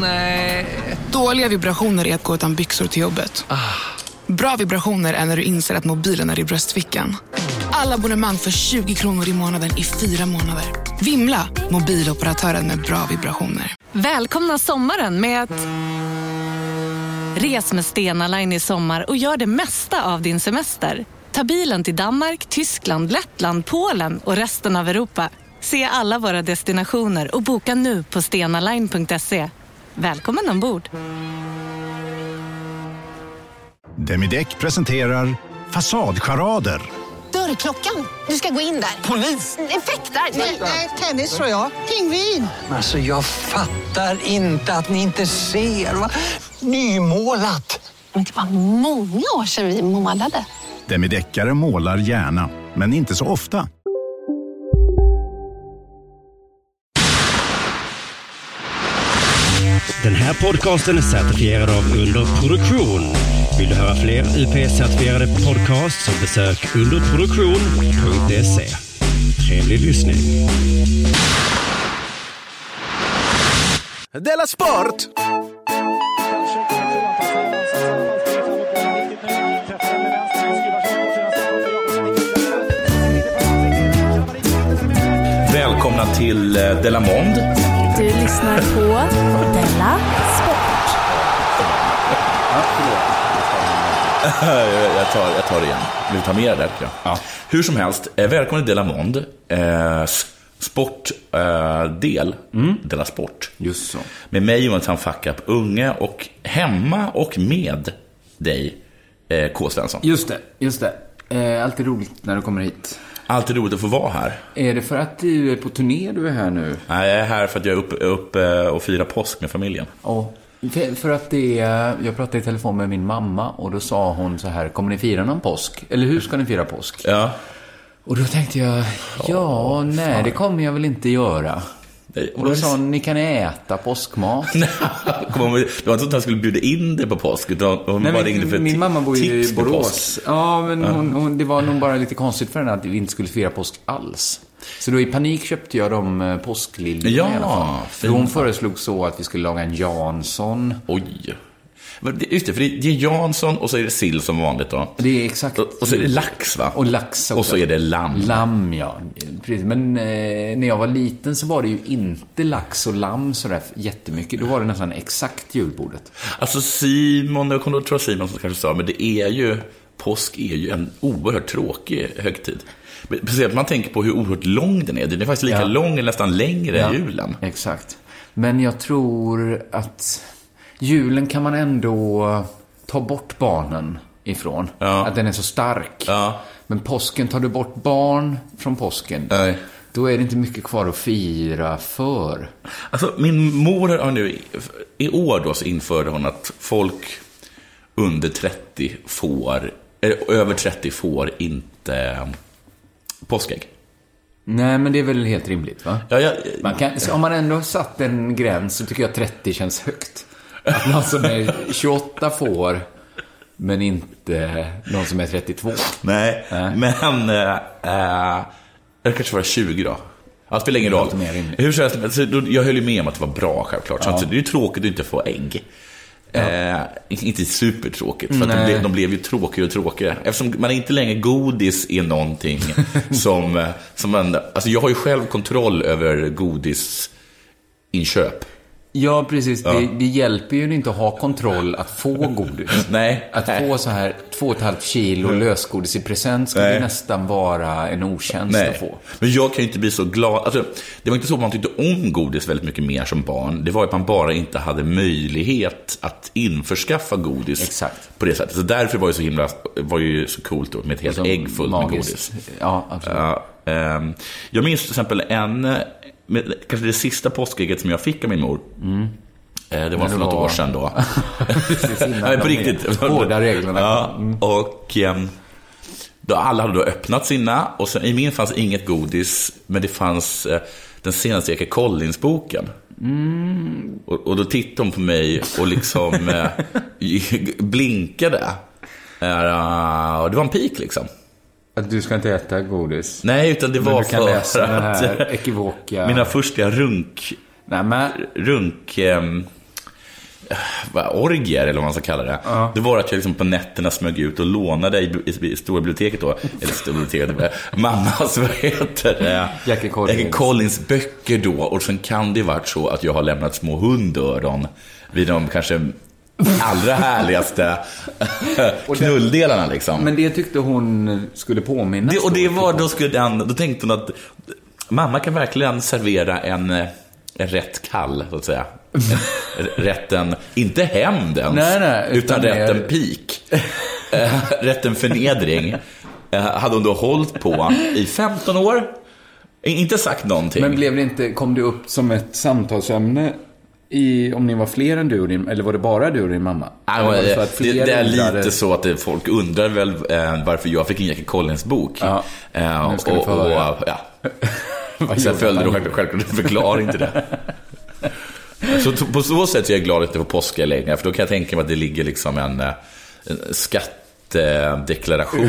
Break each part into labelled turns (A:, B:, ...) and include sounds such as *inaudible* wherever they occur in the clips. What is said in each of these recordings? A: Nej.
B: Dåliga vibrationer är att gå utan byxor till jobbet. Bra vibrationer är när du inser att mobilen är i bröstfickan. Alla abonnemang för 20 kronor i månaden i fyra månader. Vimla! Mobiloperatören med bra vibrationer.
C: Välkomna sommaren med att... Res med Stena Line i sommar och gör det mesta av din semester. Ta bilen till Danmark, Tyskland, Lettland, Polen och resten av Europa. Se alla våra destinationer och boka nu på stenaline.se. Välkommen ombord!
D: Demideck presenterar Fasadcharader.
E: Dörrklockan. Du ska gå in där. Polis? Effektar? Nej, tennis tror jag. Pingvin.
F: Alltså jag fattar inte att ni inte ser. Va? Nymålat!
E: Men det var många år sedan vi målade.
D: Demideckare målar gärna, men inte så ofta.
G: Den här podcasten är certifierad av Underproduktion. Vill du höra fler UP-certifierade podcasts så besök underproduktion.se. Trevlig lyssning.
H: Della Sport! Välkomna till eh, Della Mond.
I: Du lyssnar på Della Sport.
H: eh, jag, tar, jag tar det igen. Vi tar med det där, tycker jag. Hur som helst, eh, välkommen till Della Mond. Eh, Sportdel, eh, del, Della Sport.
J: Mm. Just så.
H: Med mig Jonathan Fackap Unge och hemma och med dig eh, K. Svensson.
J: Just det, just det. Eh, alltid roligt när du kommer hit.
H: Alltid roligt att få vara här.
J: Är det för att du är på turné du är här nu?
H: Nej, jag är här för att jag är uppe upp eh, och firar påsk med familjen.
J: Ja. För- För att det är, jag pratade i telefon med min mamma och då sa hon så här, kommer ni fira någon påsk? Eller hur ska ni fira påsk?
H: Ja.
J: Och då tänkte jag, ja, nej, det kommer jag väl inte göra. Och då sa hon, ni kan äta påskmat.
H: *laughs* Kom ihåg, Det var inte så att han skulle bjuda in dig på påsk, utan hon
J: Nej,
H: bara
J: men
H: ringde för
J: min
H: ti-
J: mamma bor ju
H: tips
J: i
H: på
J: Borås.
H: påsk.
J: Ja, men hon, hon, det var nog bara lite konstigt för henne att vi inte skulle fira påsk alls. Så då i panik köpte jag de eh, påskliljorna
H: Ja,
J: i alla fall. För
H: fint.
J: hon föreslog så att vi skulle laga en Jansson.
H: Oj. Men det- Just det, för det det är Jansson och så är det sill som vanligt då.
J: Det är exakt...
H: Och och så är det lax va?
J: Och lax också.
H: Och så är det lamm.
J: Lamm, ja. Precis. Men eh, när jag var liten så var det ju inte lax och lamm sådär jättemycket. Då var det nästan exakt julbordet.
H: Alltså Simon, jag kommer ihåg, tror jag Simon som kanske sa, men det är ju, påsk är ju en oerhört tråkig högtid. Men Speciellt om man tänker på hur oerhört lång den är. Den är faktiskt lika
J: Ja.
H: lång eller nästan längre än julen.
J: Exakt. Men jag tror att julen kan man ändå ta bort barnen ifrån.
H: Ja.
J: Att den är så stark.
H: Ja.
J: Men påsken, tar du bort barn från påsken,
H: Nej.
J: då är det inte mycket kvar att fira för.
H: Alltså, min mor har nu, i år då så införde hon att folk under 30 får, eller över 30 får inte påskägg.
J: Nej, men det är väl helt rimligt, va?
H: Ja, jag,
J: Man kan, så om man ändå satt en gräns så tycker jag 30 känns högt. Att någon som är 28 får, men inte någon som är 32.
H: Nej, men eh, eh, jag kanske var 20 då. Ja, det spelar ingen roll.
J: Låter mer rimligt.
H: Hur som helst, alltså, då- jag höll ju med om att det var bra självklart. Så att det är ju tråkigt att inte få ägg. Eh, inte supertråkigt, för att de,
J: Nej.
H: blev, de blev ju tråkigare och tråkigare. Eftersom man inte längre godis är
J: *laughs*
H: någonting som, eh, som man... Alltså jag har ju själv kontroll över godisinköp.
J: Ja, precis. Det, det hjälper ju inte att ha kontroll att få godis.
H: Nej.
J: Att
H: Nej.
J: få så här två och ett halvt kilo lösgodis i present skulle
H: Nej.
J: ju nästan vara en otjänst att få.
H: Men jag kan ju inte bli så glad. Alltså, det var inte så att man tyckte om godis väldigt mycket mer som barn. Det var ju att man bara inte hade möjlighet att införskaffa godis
J: Exakt.
H: på det sättet. Så därför var det så himla, var ju så coolt då, med ett helt ägg fullt med godis.
J: Ja, absolut.
H: Ja, ehm, jag minns till exempel en, eh, med, kanske det sista påskägget som jag fick av min mor. Eh, Det var
J: Men
H: för
J: det
H: något
J: var-
H: år sedan då. *laughs*
J: Precis innan
H: Nej, på
J: de
H: riktigt.
J: Hårda reglerna.
H: Ja, och ehm, då alla hade då öppnat sina och sen, i min fanns inget godis, men det fanns eh, den senaste J.K. Collins-boken. Och, och då tittade hon på mig och liksom eh, *laughs* blinkade. Eh, och det var en pik liksom.
J: Att du ska inte äta godis.
H: Nej, utan det
J: Men
H: var
J: du kan
H: för
J: läsa den
H: att *laughs*
J: här ekivoka...
H: mina första runk,
J: Nej, men...
H: runk ehm, vad, orgier eller vad man ska kalla det. Det var att jag liksom på nätterna smög ut och lånade i, i, i storbiblioteket då. Eller storbiblioteket, eh, mammas, *laughs* vad heter det?
J: Jackie Collins.
H: Jackie Collins böcker då. Och sen kan det ju varit så att jag har lämnat små hundöron vid de kanske allra
J: *laughs*
H: härligaste knulldelarna liksom.
J: Men det tyckte hon skulle påminna
H: Det, och det var, då, skulle den, då tänkte hon att mamma kan verkligen servera en, eh, en rätt kall, så att säga. *laughs* En- Rätten, inte hämnd ens,
J: Nej, nej,
H: utan,
J: utan mer-
H: rätten pik. Eh, rätten förnedring. Eh, hade hon då hållit på i 15 år. I- Inte sagt någonting.
J: Men blev det inte, kom det upp som ett samtalsämne i, om ni var fler än du och din, eller var det bara du och din mamma?
H: Nej,
J: Eller var
H: men,
J: så
H: eh,
J: att
H: det,
J: fler
H: det är
J: undrade-
H: lite så att det, folk undrar väl eh, varför jag fick en Jackie Collins-bok.
J: Ja,
H: Eh,
J: nu ska ni få höra.
H: *laughs* ja.
J: Vad
H: Sen
J: jobbigt.
H: följde då självklart- självklart en förklaring *laughs* till det. Så t- på så sätt är jag glad att det var påskällängar, för då kan jag tänka mig att det ligger liksom en, eh, en skattedeklaration.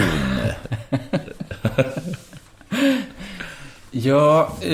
J: Ja, eh,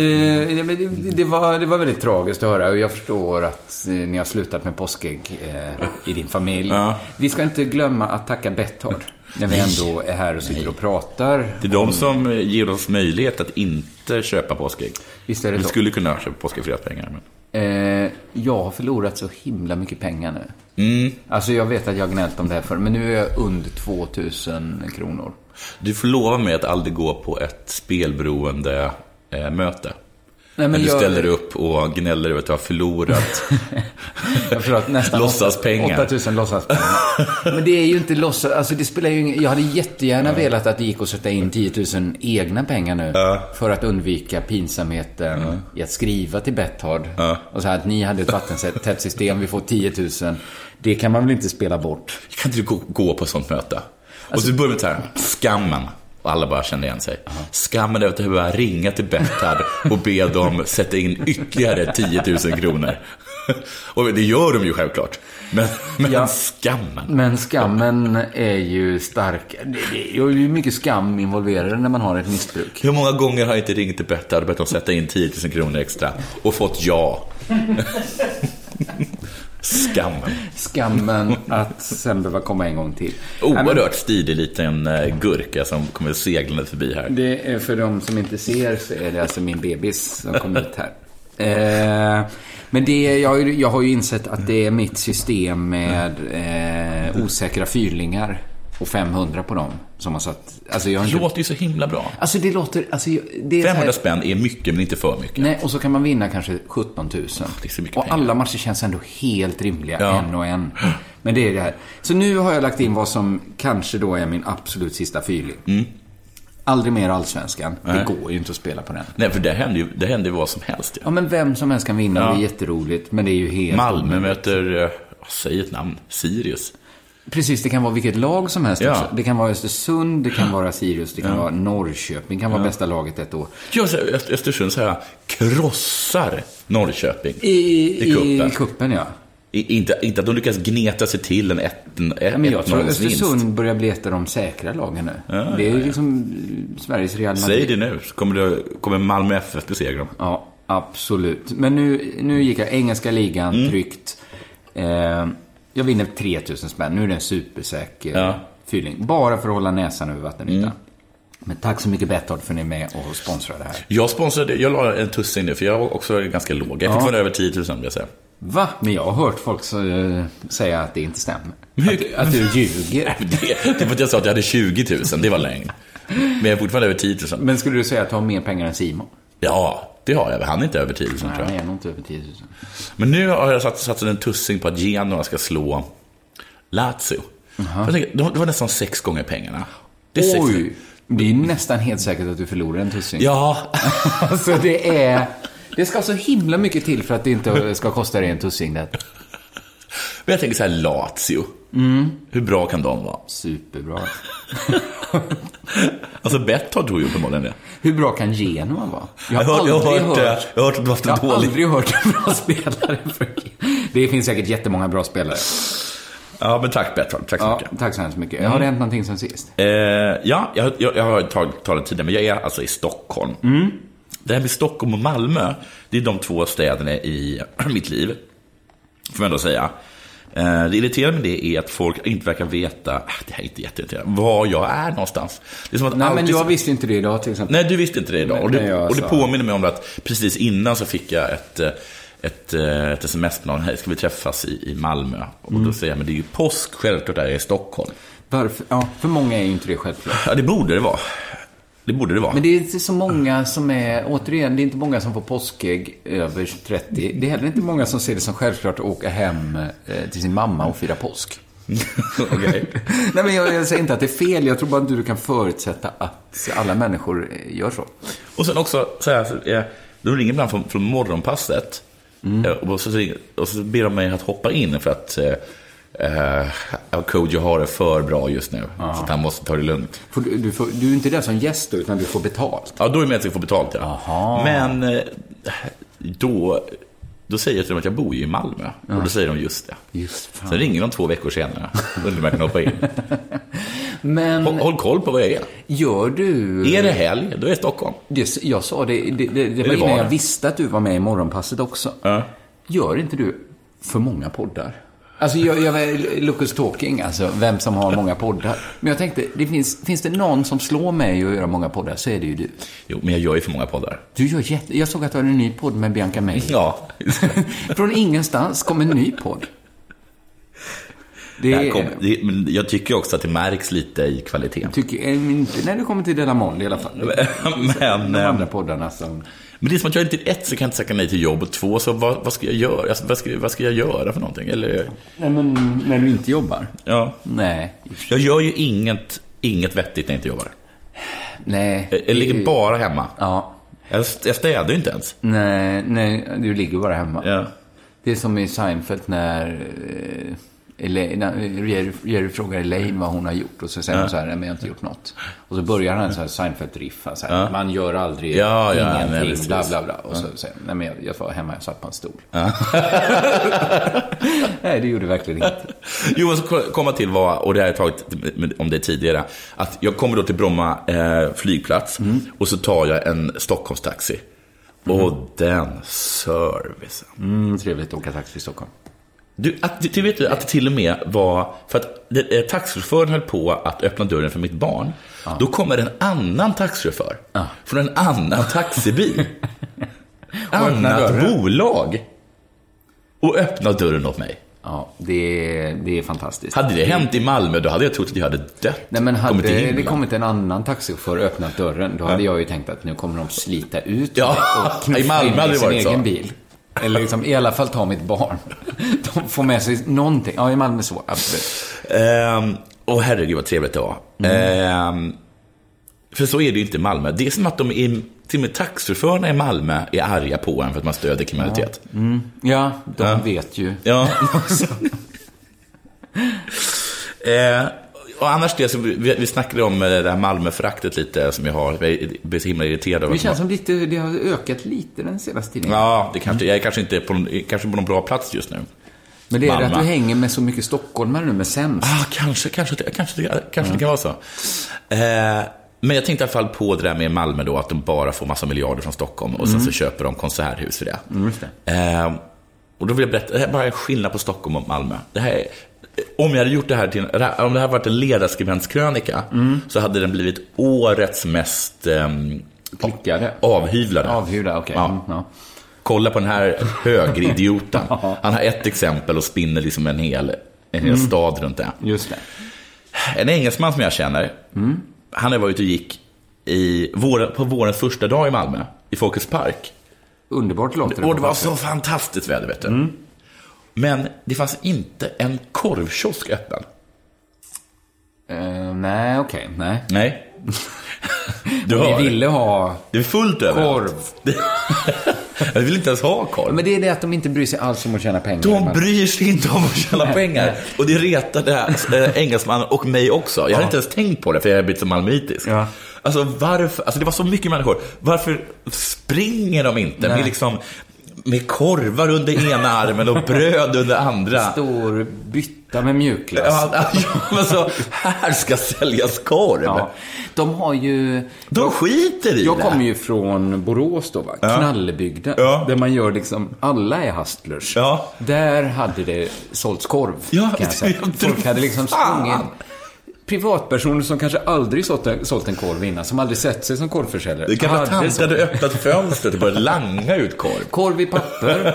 J: det, det- det, var, det var väldigt tragiskt att höra och jag förstår att eh, ni har slutat med påskägg eh, i din familj.
H: Ja.
J: Vi ska inte glömma att tacka Betthard när vi ändå är här och sitter och pratar.
H: *laughs* Det är de som ger oss möjlighet att inte köpa påskägg.
J: Visst är det
H: Vi
J: så?
H: skulle kunna köpa påskägg för deras pengar. Men...
J: Eh, jag har förlorat så himla mycket pengar nu.
H: Mm.
J: Alltså jag vet att jag har gnällt om det här förr, men nu är jag under 2000 kronor.
H: Du får lova mig att aldrig gå på ett spelberoende eh, möte.
J: Nej,
H: Men du
J: jag,
H: ställer upp och gnäller över att du har förlorat.
J: Jag förlorat nästan
H: Låtsaspengar.
J: 8000 låtsaspengar. Men det är ju inte låtsas... Alltså det spelar ju ingen... Jag hade jättegärna velat att det gick att sätta in 10 000 egna pengar nu. För att undvika pinsamheten i att skriva till Betthard. Och så här att ni hade ett vattentätt system, vi får 10 000. Det kan man väl inte spela bort?
H: kan inte du gå, gå på ett sånt möte? och så börjar vi så här, skammen. Och alla bara känner igen sig. Skammen över att behöva ringa till Betthard och be dem sätta in ytterligare 10 000 kronor. *laughs* Och det gör de ju självklart. Men, men
J: Ja.
H: skammen.
J: Men skammen är ju stark. Det- Det är ju mycket skam involverad när man har ett missbruk.
H: Hur många gånger har jag inte ringt till Betthard och bett dem sätta in 10 000 kronor extra och fått ja? *laughs* Skammen.
J: Skammen att sen behöva komma en gång till.
H: Oerhört stilig liten eh, gurka som kommer seglande förbi här.
J: Det är för de som inte ser så är det alltså min bebis som kom ut här. Eh, men det, jag, har ju- jag har ju insett att det är mitt system med eh, osäkra fyrlingar och 500 på dem som har satt... Alltså, jag har
H: Det
J: inte,
H: låter ju så himla bra.
J: alltså det låter... Alltså, jag- det är så här-
H: 500 spänn är mycket, men inte för mycket. Ah,
J: Nej, och så kan man vinna kanske 17 000.
H: det är så mycket
J: och
H: pengar.
J: alla matcher känns ändå helt rimliga,
H: Ja.
J: en och en. Men det är det här. Så nu har jag lagt in vad som kanske då är min absolut sista fyrling.
H: Mm.
J: Aldrig mer Allsvenskan. Det går ju inte att spela på den.
H: Nej, för det hände ju, det hände ju vad som helst.
J: Ja,
H: Ja.
J: men vem som helst kan vinna
H: Ja.
J: och det är jätteroligt. Men det är ju helt...
H: Malmö möter, eh, säg ett namn, Sirius.
J: Precis, det kan vara vilket lag som helst
H: Ja.
J: också. Det kan vara Östersund, det kan vara Sirius, det kan vara Norrköping, det kan vara bästa laget ett år.
H: Jag säger, Öst- Östersund så här, krossar Norrköping
J: I,
H: i
J: i,
H: cupen.
J: i kuppen, ja.
H: I, inte, inte att de lyckas gneta sig till en
J: Ja, men jag tror
H: 1-0 vinst.
J: Östersund börjar bli ett av de säkra lagen nu. det är ju liksom eh, Sveriges Real Madrid.
H: Säg det nu, så kommer, det, kommer Malmö FF besegra dem.
J: Ja, absolut. Men nu, nu gick jag engelska ligan
H: Mm.
J: tryggt. Eh, jag vinner 3000 spänn. Nu är det en supersäker
H: Ja. Mm.
J: fyrling. Bara för att hålla näsan över vattenytan. Men tack så mycket Betthard för att ni är med och sponsrar det här.
H: Jag sponsrade, jag la en tussing nu, för jag var också ganska låg. Jag är fortfarande över 10 000 vill jag säga.
J: Va? Men jag har hört folk så, eh, säga att det inte stämmer. Att, du- att du
H: *laughs*
J: ljuger.
H: Det, det är för att jag sa att jag hade 20 000, det var lögn. Men jag är fortfarande över 10 000.
J: Men skulle du säga att du har mer pengar än Simon?
H: Ja, det har jag. Han är inte över 10 000 tror
J: Nej,
H: jag.
J: han är nog inte över 10 000.
H: Men nu har jag satt, satt en tussing på att Genoa ska slå Lazio. Jag tänker, det var- det var nästan sex gånger pengarna. Det är sex.
J: Oj! Det är nästan helt säkert att du förlorar en tussing.
H: Ja, *laughs*
J: Alltså det är... Det ska så himla mycket till för att det inte ska kosta dig en tussing. Det.
H: men jag tänker så här Lazio.
J: Mm.
H: Hur bra kan de vara?
J: Superbra.
H: Alltså Betthard tror ju uppenbarligen det.
J: Hur bra kan Genoa vara? Jag
H: har-
J: har
H: jag har
J: aldrig
H: hört
J: hört...
H: det. Jag har hört att du har haft en
J: jag har
H: dålig-
J: aldrig hört en bra spelare. för- Det finns säkert jättemånga bra spelare.
H: Ja, men tack Betthard. Tack så
J: Ja,
H: mycket.
J: tack så hemskt mycket. Har det hänt någonting sen sist?
H: Eh, ja, jag, jag, jag har tagit talat tidigare, men jag är alltså i Stockholm.
J: Mm.
H: Det här med Stockholm och *clears throat* Malmö, det är de två städerna i mitt liv, får man ändå säga. Eh, Det irriterande med det är att folk inte verkar veta, ah, det här är inte jätteirriterande, var jag är någonstans. Det är som att
J: Nej, men
H: alltid-
J: jag visste inte det idag till exempel.
H: Nej, du visste inte det idag.
J: Men-
H: Och det,
J: men jag
H: och det
J: sa-
H: påminner mig om att precis innan så fick jag ett, eh, ett, eh, ett sms från någon, hej, ska vi träffas i, i Malmö? Och
J: Mm.
H: då säger jag, men det är ju påsk, självklart är jag i Stockholm.
J: Varför? Ja, för många är ju inte det självklart.
H: Ja, det borde det vara. Det borde det vara.
J: Men det är inte så många som är, återigen, det är inte många som får påskägg över 30. Det är heller inte många som ser det som självklart att åka hem eh, till sin mamma och fira påsk.
H: Okej.
J: Nej, men jag, jag säger inte att det är fel. Jag tror bara inte du kan förutsätta att alla människor eh, gör så.
H: Och sen också, så här, så, eh, de ringer ibland från, från morgonpasset.
J: Mm.
H: Eh, Och, så, ringer- och så ber de mig att hoppa in för att eh, eh, ja, Kodjo har det för bra just nu. Så att han måste ta det lugnt.
J: Får du, du, får, du är inte där som gäst då, utan du får betalt.
H: Ja, då är det med att jag får betalt, ja.
J: Aha.
H: Men eh, då, då säger jag till dem att jag bor ju i Malmö. Och då säger de just det.
J: Just
H: Sen ringer de två veckor senare. Undrar om jag kan hoppa in.
J: Men
H: Håll, håll koll på vad jag är.
J: gör du...
H: Är det helg, då är jag i Stockholm.
J: Det, jag sa det, det, det, det var
H: var
J: innan jag
H: det.
J: visste att du var med i Morgonpasset också.
H: Ja.
J: Gör inte du för många poddar? Alltså, jag, jag Lucas Talking, alltså, vem som har många poddar. Men jag tänkte, det finns, finns det någon som slår mig att göra många poddar så är det ju du.
H: Jo, men jag gör ju för många poddar.
J: Du gör jätte... Jag såg att du har en ny podd med Bianca Meijer. *laughs*
H: Ja,
J: Från ingenstans kom en ny podd. Det
H: Det här kom, det, men jag tycker också att det märks lite i kvaliteten.
J: tycker jag inte när det kommer till Della Moll i alla fall.
H: *laughs* Men,
J: De
H: eh,
J: andra poddarna som...
H: men det är som att jag inte, ett så kan jag inte säga nej till jobb och två så vad, vad ska jag göra? Alltså, vad, ska, vad ska jag göra för någonting? Eller,
J: Nej, men när du inte jobbar.
H: ja.
J: Nej.
H: Jag gör ju inget, inget vettigt när jag inte jobbar. Eh,
J: Nej.
H: Jag, jag ligger bara hemma.
J: Ja.
H: Jag, jag städar ju inte ens. *laughs*
J: Nej, nej, du ligger bara hemma.
H: Ja.
J: Det är som i Seinfeld när eh, Elaine- när Jerry, Jerry frågar Elaine vad hon har gjort och så säger hon så här, nej men jag har inte gjort något. Och så börjar han så här Seinfeld-riffa, så här, man gör aldrig
H: Ja, ja,
J: ingenting,
H: nej, precis.
J: bla bla bla. Och så säger han, nej men jag, jag var hemma, jag satt på en stol. *laughs* nej, det gjorde verkligen inte.
H: Jo, vad jag ska komma till var, och det har jag tagit om det tidigare, att jag kommer då till Bromma eh, flygplats
J: Mm.
H: och så tar jag en Stockholmstaxi. Och den servicen.
J: Mm, trevligt att åka taxi i Stockholm.
H: Du, att, du, du vet ju att det till och med var, för att det- eh, taxichauffören höll på att öppna dörren för mitt barn. Då kommer en annan taxichaufför från en annan
J: *laughs*
H: taxibil. annat
J: dörren.
H: bolag. Och öppnar dörren åt mig.
J: Ja, det, är- det är fantastiskt.
H: Hade det hänt i Malmö, då hade jag trott att jag hade dött.
J: Nej, men hade
H: Kommit till
J: det
H: himlen.
J: kommit en annan taxichaufför och öppnat dörren, då hade jag ju tänkt att nu kommer de slita ut
H: Ja,
J: mig och knuffa
H: *laughs* i Malmö
J: in mig
H: hade det
J: sin
H: varit
J: egen
H: så.
J: bil. Eller liksom, i alla fall ta mitt barn. *laughs* De får med sig någonting. Ja, i Malmö så. Absolut.
H: Ehm, Åh herregud vad trevligt det var.
J: Mm.
H: Ehm, för så är det ju inte i Malmö. Det är som att de är, till och med taxichaufförerna i Malmö är arga på en för att man stöder kriminalitet.
J: Ja, de vet ju.
H: Ja. *laughs* eh, och annars det, så vi, vi snackade om eh, det här Malmöföraktet lite som jag har. Jag blir så himla irriterad över
J: Det
H: att man-
J: känns som lite, det har ökat lite den senaste tiden.
H: Ja, det kanske, jag är kanske inte på, någon- kanske på någon bra plats just nu.
J: men det är det att
H: Malmö.
J: du hänger med så mycket stockholmare nu med sämst.
H: Ah, kanske, kanske, det- kanske, det- kanske det kan vara så. Eh, men jag tänkte i alla fall på det där med Malmö då, att de bara får massa miljarder från Stockholm och sen
J: Mm.
H: så köper de konserthus för det. Eh, och då vill jag berätta, det här är bara en skillnad på Stockholm och Malmö. Det här är, om jag hade gjort det här till, en- om det här varit en ledarskribentskrönika,
J: Mm.
H: så hade den blivit årets mest ehm,
J: Klickade.
H: avhyvlade.
J: Avhyvlad, okej.
H: Ja.
J: Mm, ja.
H: Kolla på den här
J: *laughs*
H: högeridioten. Han har ett exempel och spinner liksom en hel, en hel
J: Mm.
H: stad runt det.
J: Just det.
H: En engelsman som jag känner, han var ute och gick i vår, på vårens första dag i Malmö, i Folkets park.
J: Underbart låter
H: Och
J: på
H: det var
J: pappret.
H: så fantastiskt väder, vet du. Men det fanns inte en korvkiosk öppen.
J: Eh, nej, okej. nej. *laughs*
H: Nej. Du
J: Vi
H: hör.
J: ville ha
H: Det är fullt överallt.
J: korv.
H: Jag vill inte ens ha korv.
J: Men det är det att de inte bryr sig alls om att tjäna pengar.
H: De bryr sig inte om att tjäna pengar. Och det retade eh, engelsmannen och mig också. Jag hade inte ens tänkt på det, för jag hade blivit så malmöitisk.
J: Ja.
H: Alltså varför, alltså det var så mycket människor. Varför springer de inte med liksom Med korvar under ena armen och bröd under andra.
J: *laughs* Stor bytta med mjukglass.
H: Ja, ja, men så, här ska säljas korv.
J: Ja. De har ju...
H: De skiter i
J: Jag
H: det.
J: kommer ju från Borås då, va? knallbygden.
H: Ja.
J: Där man gör liksom, alla är hustlers.
H: Ja.
J: Där hade det sålts korv,
H: Ja,
J: kan jag säga.
H: *laughs* jag tror-
J: Folk hade liksom
H: Fan!
J: sprungit. Privatpersoner som kanske aldrig sålt en, sålt en korv innan, som aldrig sett sig som korvförsäljare.
H: Det kan vara
J: hade
H: tant
J: sålt.
H: hade öppnat fönstret och börjat langa ut korv.
J: Korv
H: *laughs*
J: i papper.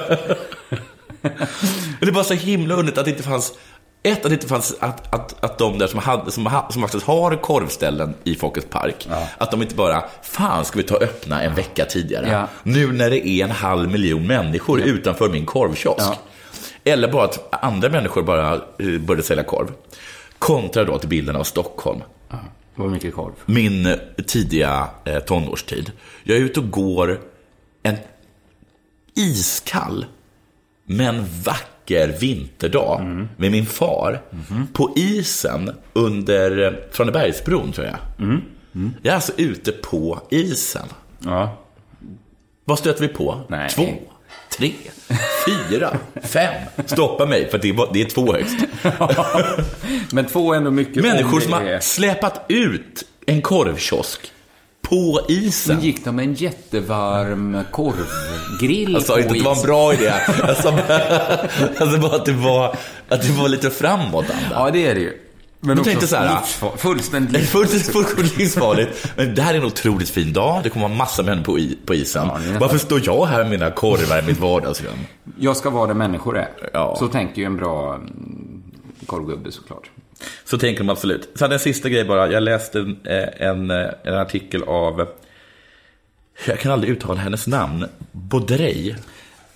H: Men det var så himla underligt att det inte fanns ett, att det inte fanns att, att, att de där som, hade, som, ha- som faktiskt har korvställen i Folkets park, att de inte bara, fan ska vi ta och öppna en vecka tidigare?
J: Ja.
H: Nu när det är en halv miljon människor utanför min korvkiosk. Eller bara att andra människor bara eh, började sälja korv. Kontra då till bilden av Stockholm
J: Det var mycket korv.
H: min tidiga eh, tonårstid. Jag är ute och går en iskall men vacker vinterdag med min far på isen under eh, Tranebergsbron, tror jag.
J: Mm.
H: Jag är alltså ute på isen.
J: Ja.
H: Vad stöter vi på?
J: Nej.
H: Två, tre, fyra, fem. Stoppa mig, för det är, bara- det är två högst.
J: Men två är ändå mycket.
H: Människor
J: om
H: som
J: det
H: har
J: är-
H: släpat ut en korvkiosk på isen.
J: Men gick de med en jättevarm korvgrill
H: Jag sa Alltså,
J: på
H: inte att det var en
J: is?
H: bra idé. *laughs* Jag sa bara, jag sa bara att, det var, att det var lite framåtanda.
J: Ja, det är det ju. Men
H: Jag tänkte så här, "Ah,
J: livsfar- fullständigt
H: Det är
J: livsfarligt.
H: fullt- Fullkomligt livsfarligt. Men det här är en otroligt fin dag. Det kommer vara massa människor på, i, på isen.
J: det är nästan-
H: Varför står jag här med mina korvar i mitt vardagsrum?
J: Jag ska vara där människor är.
H: Ja.
J: Så tänker ju en bra mm, korvgubbe såklart.
H: Så tänker de absolut. Sen en sista grej bara. Jag läste en, eh, en, eh, en artikel av, jag kan aldrig uttala hennes namn, Baudrey.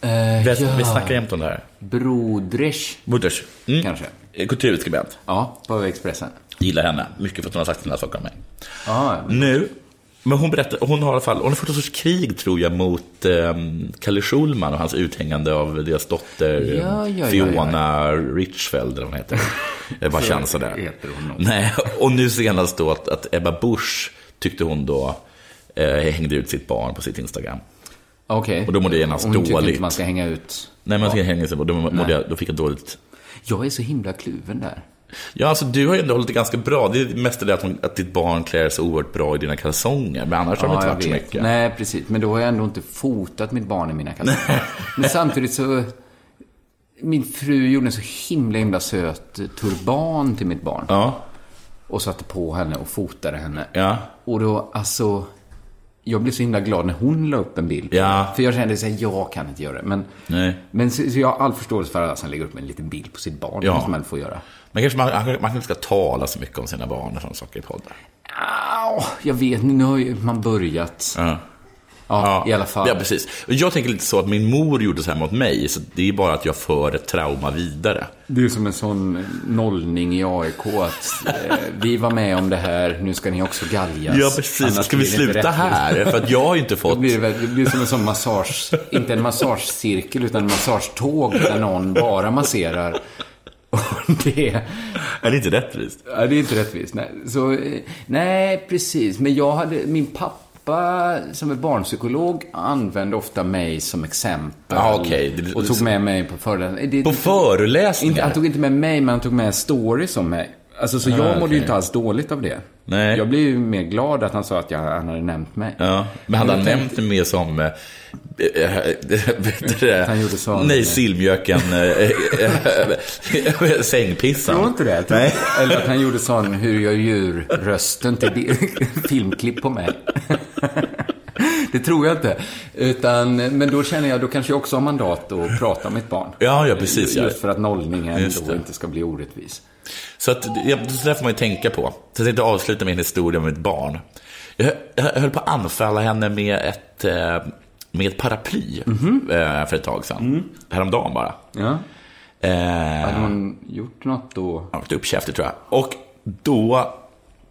H: vi, vi snackar jämt om det här.
J: Brodresch,
H: Budders. Mm.
J: kanske.
H: Eh, Kulturutskribent.
J: Ja, på Expressen.
H: Gillar henne. Mycket för att hon har sagt den här saken om mig.
J: Ja,
H: Nu, men hon berättar, hon har i alla fall, hon har fått en sorts krig tror jag mot eh, Kalle Schulman och hans uthängande av deras dotter eh,
J: Ja, ja, ja,
H: Fiona Richfeldt eller vad hon
J: *laughs*
H: heter. Jag bara känner sådär.
J: heter hon nog.
H: Nej, och nu senast då att, att Ebba Busch tyckte hon då eh, hängde ut sitt barn på sitt Instagram.
J: okej.
H: Och då mådde jag genast
J: Hon tycker
H: dåligt.
J: inte man ska hänga ut.
H: Nej, men jag ska hänga sig på, då, mådde jag, då fick jag dåligt.
J: Jag är så himla kluven där.
H: Ja, alltså du har ju ändå hållit det ganska bra. Det är mest det att, hon, att ditt barn klär sig oerhört bra i dina kalsonger, men annars har det inte
J: jag
H: varit så
J: vet.
H: mycket.
J: Nej, precis. Men då har jag ändå inte fotat mitt barn i mina
H: *laughs*
J: kalsonger. Men samtidigt så... Min fru gjorde en så himla, himla söt turban till mitt barn.
H: Ja,
J: Och satte på henne och fotade henne.
H: ja,
J: Och då, alltså... Jag blev så himla glad när hon la upp en bild.
H: Ja.
J: För jag kände så här, jag kan inte göra det. Men,
H: nej.
J: men så, så jag har all förståelse för alla som lägger upp en liten bild på sitt barn.
H: Ja.
J: Som man får göra.
H: Men kanske man, man kanske inte ska tala så mycket om sina barn och sådana saker i poddar.
J: Au, jag vet, nu har ju man börjat.
H: Ja.
J: Ja, i alla fall.
H: Ja, precis. Och Jag tänker lite så att min mor gjorde så här mot mig, så det är bara att jag för ett trauma vidare.
J: Det är som en sån nollning i AIK att eh, vi var med om det här, nu ska ni också galgas.
H: ja, precis.
J: Annars
H: ska vi
J: blir det inte
H: sluta
J: rättvist.
H: här? För att jag har ju inte
J: *laughs* Då
H: fått...
J: blir det, väl, det blir som en sån massage, inte en massagecirkel utan en massagetåg där någon bara masserar. Och det,
H: Är det inte rättvist?
J: ja, det är inte rättvist. Nej. Så, eh, nej, precis. Men jag hade, min pappa som är barnpsykolog använde ofta mig som exempel.
H: Ja, okej. Det-
J: Och tog med mig på föreläsningar.
H: På föreläsningar?
J: Inte, han tog inte med mig, men han tog med stories om mig. Alltså, så jag mådde
H: Ah, okej.
J: ju inte alls dåligt av det.
H: Nej.
J: Jag blev ju mer glad att han sa att jag, han hade nämnt mig.
H: Ja, men hade
J: jag
H: han
J: tänkte-
H: nämnt det mer som... eh, eh, *laughs* eh, vet du det?
J: Han gjorde så.
H: Nej, sillmjöken. eh, eh, eh, Sängpissan.
J: Tror inte det? jag tror
H: Nej.
J: inte det. *laughs* Eller att han gjorde sån hur jag djur-rösten till bi- *laughs* filmklipp på mig. *laughs* det tror jag inte. Utan, men då känner jag, då kanske jag också har mandat att prata om mitt barn.
H: Ja, ja, precis. Ja.
J: Just för att nollningen
H: Just
J: då
H: det.
J: inte ska bli orättvis.
H: Så att, ja, så där får man ju tänka på. Så jag tänkte avsluta min historia om ett barn. Jag, jag höll på att anfalla henne med ett, eh, med ett paraply
J: Mhm.
H: eh, för ett tag sedan.
J: Mm.
H: Häromdagen bara.
J: Ja.
H: Eh,
J: Hade hon gjort något då?
H: han var uppkäftig tror jag. Och då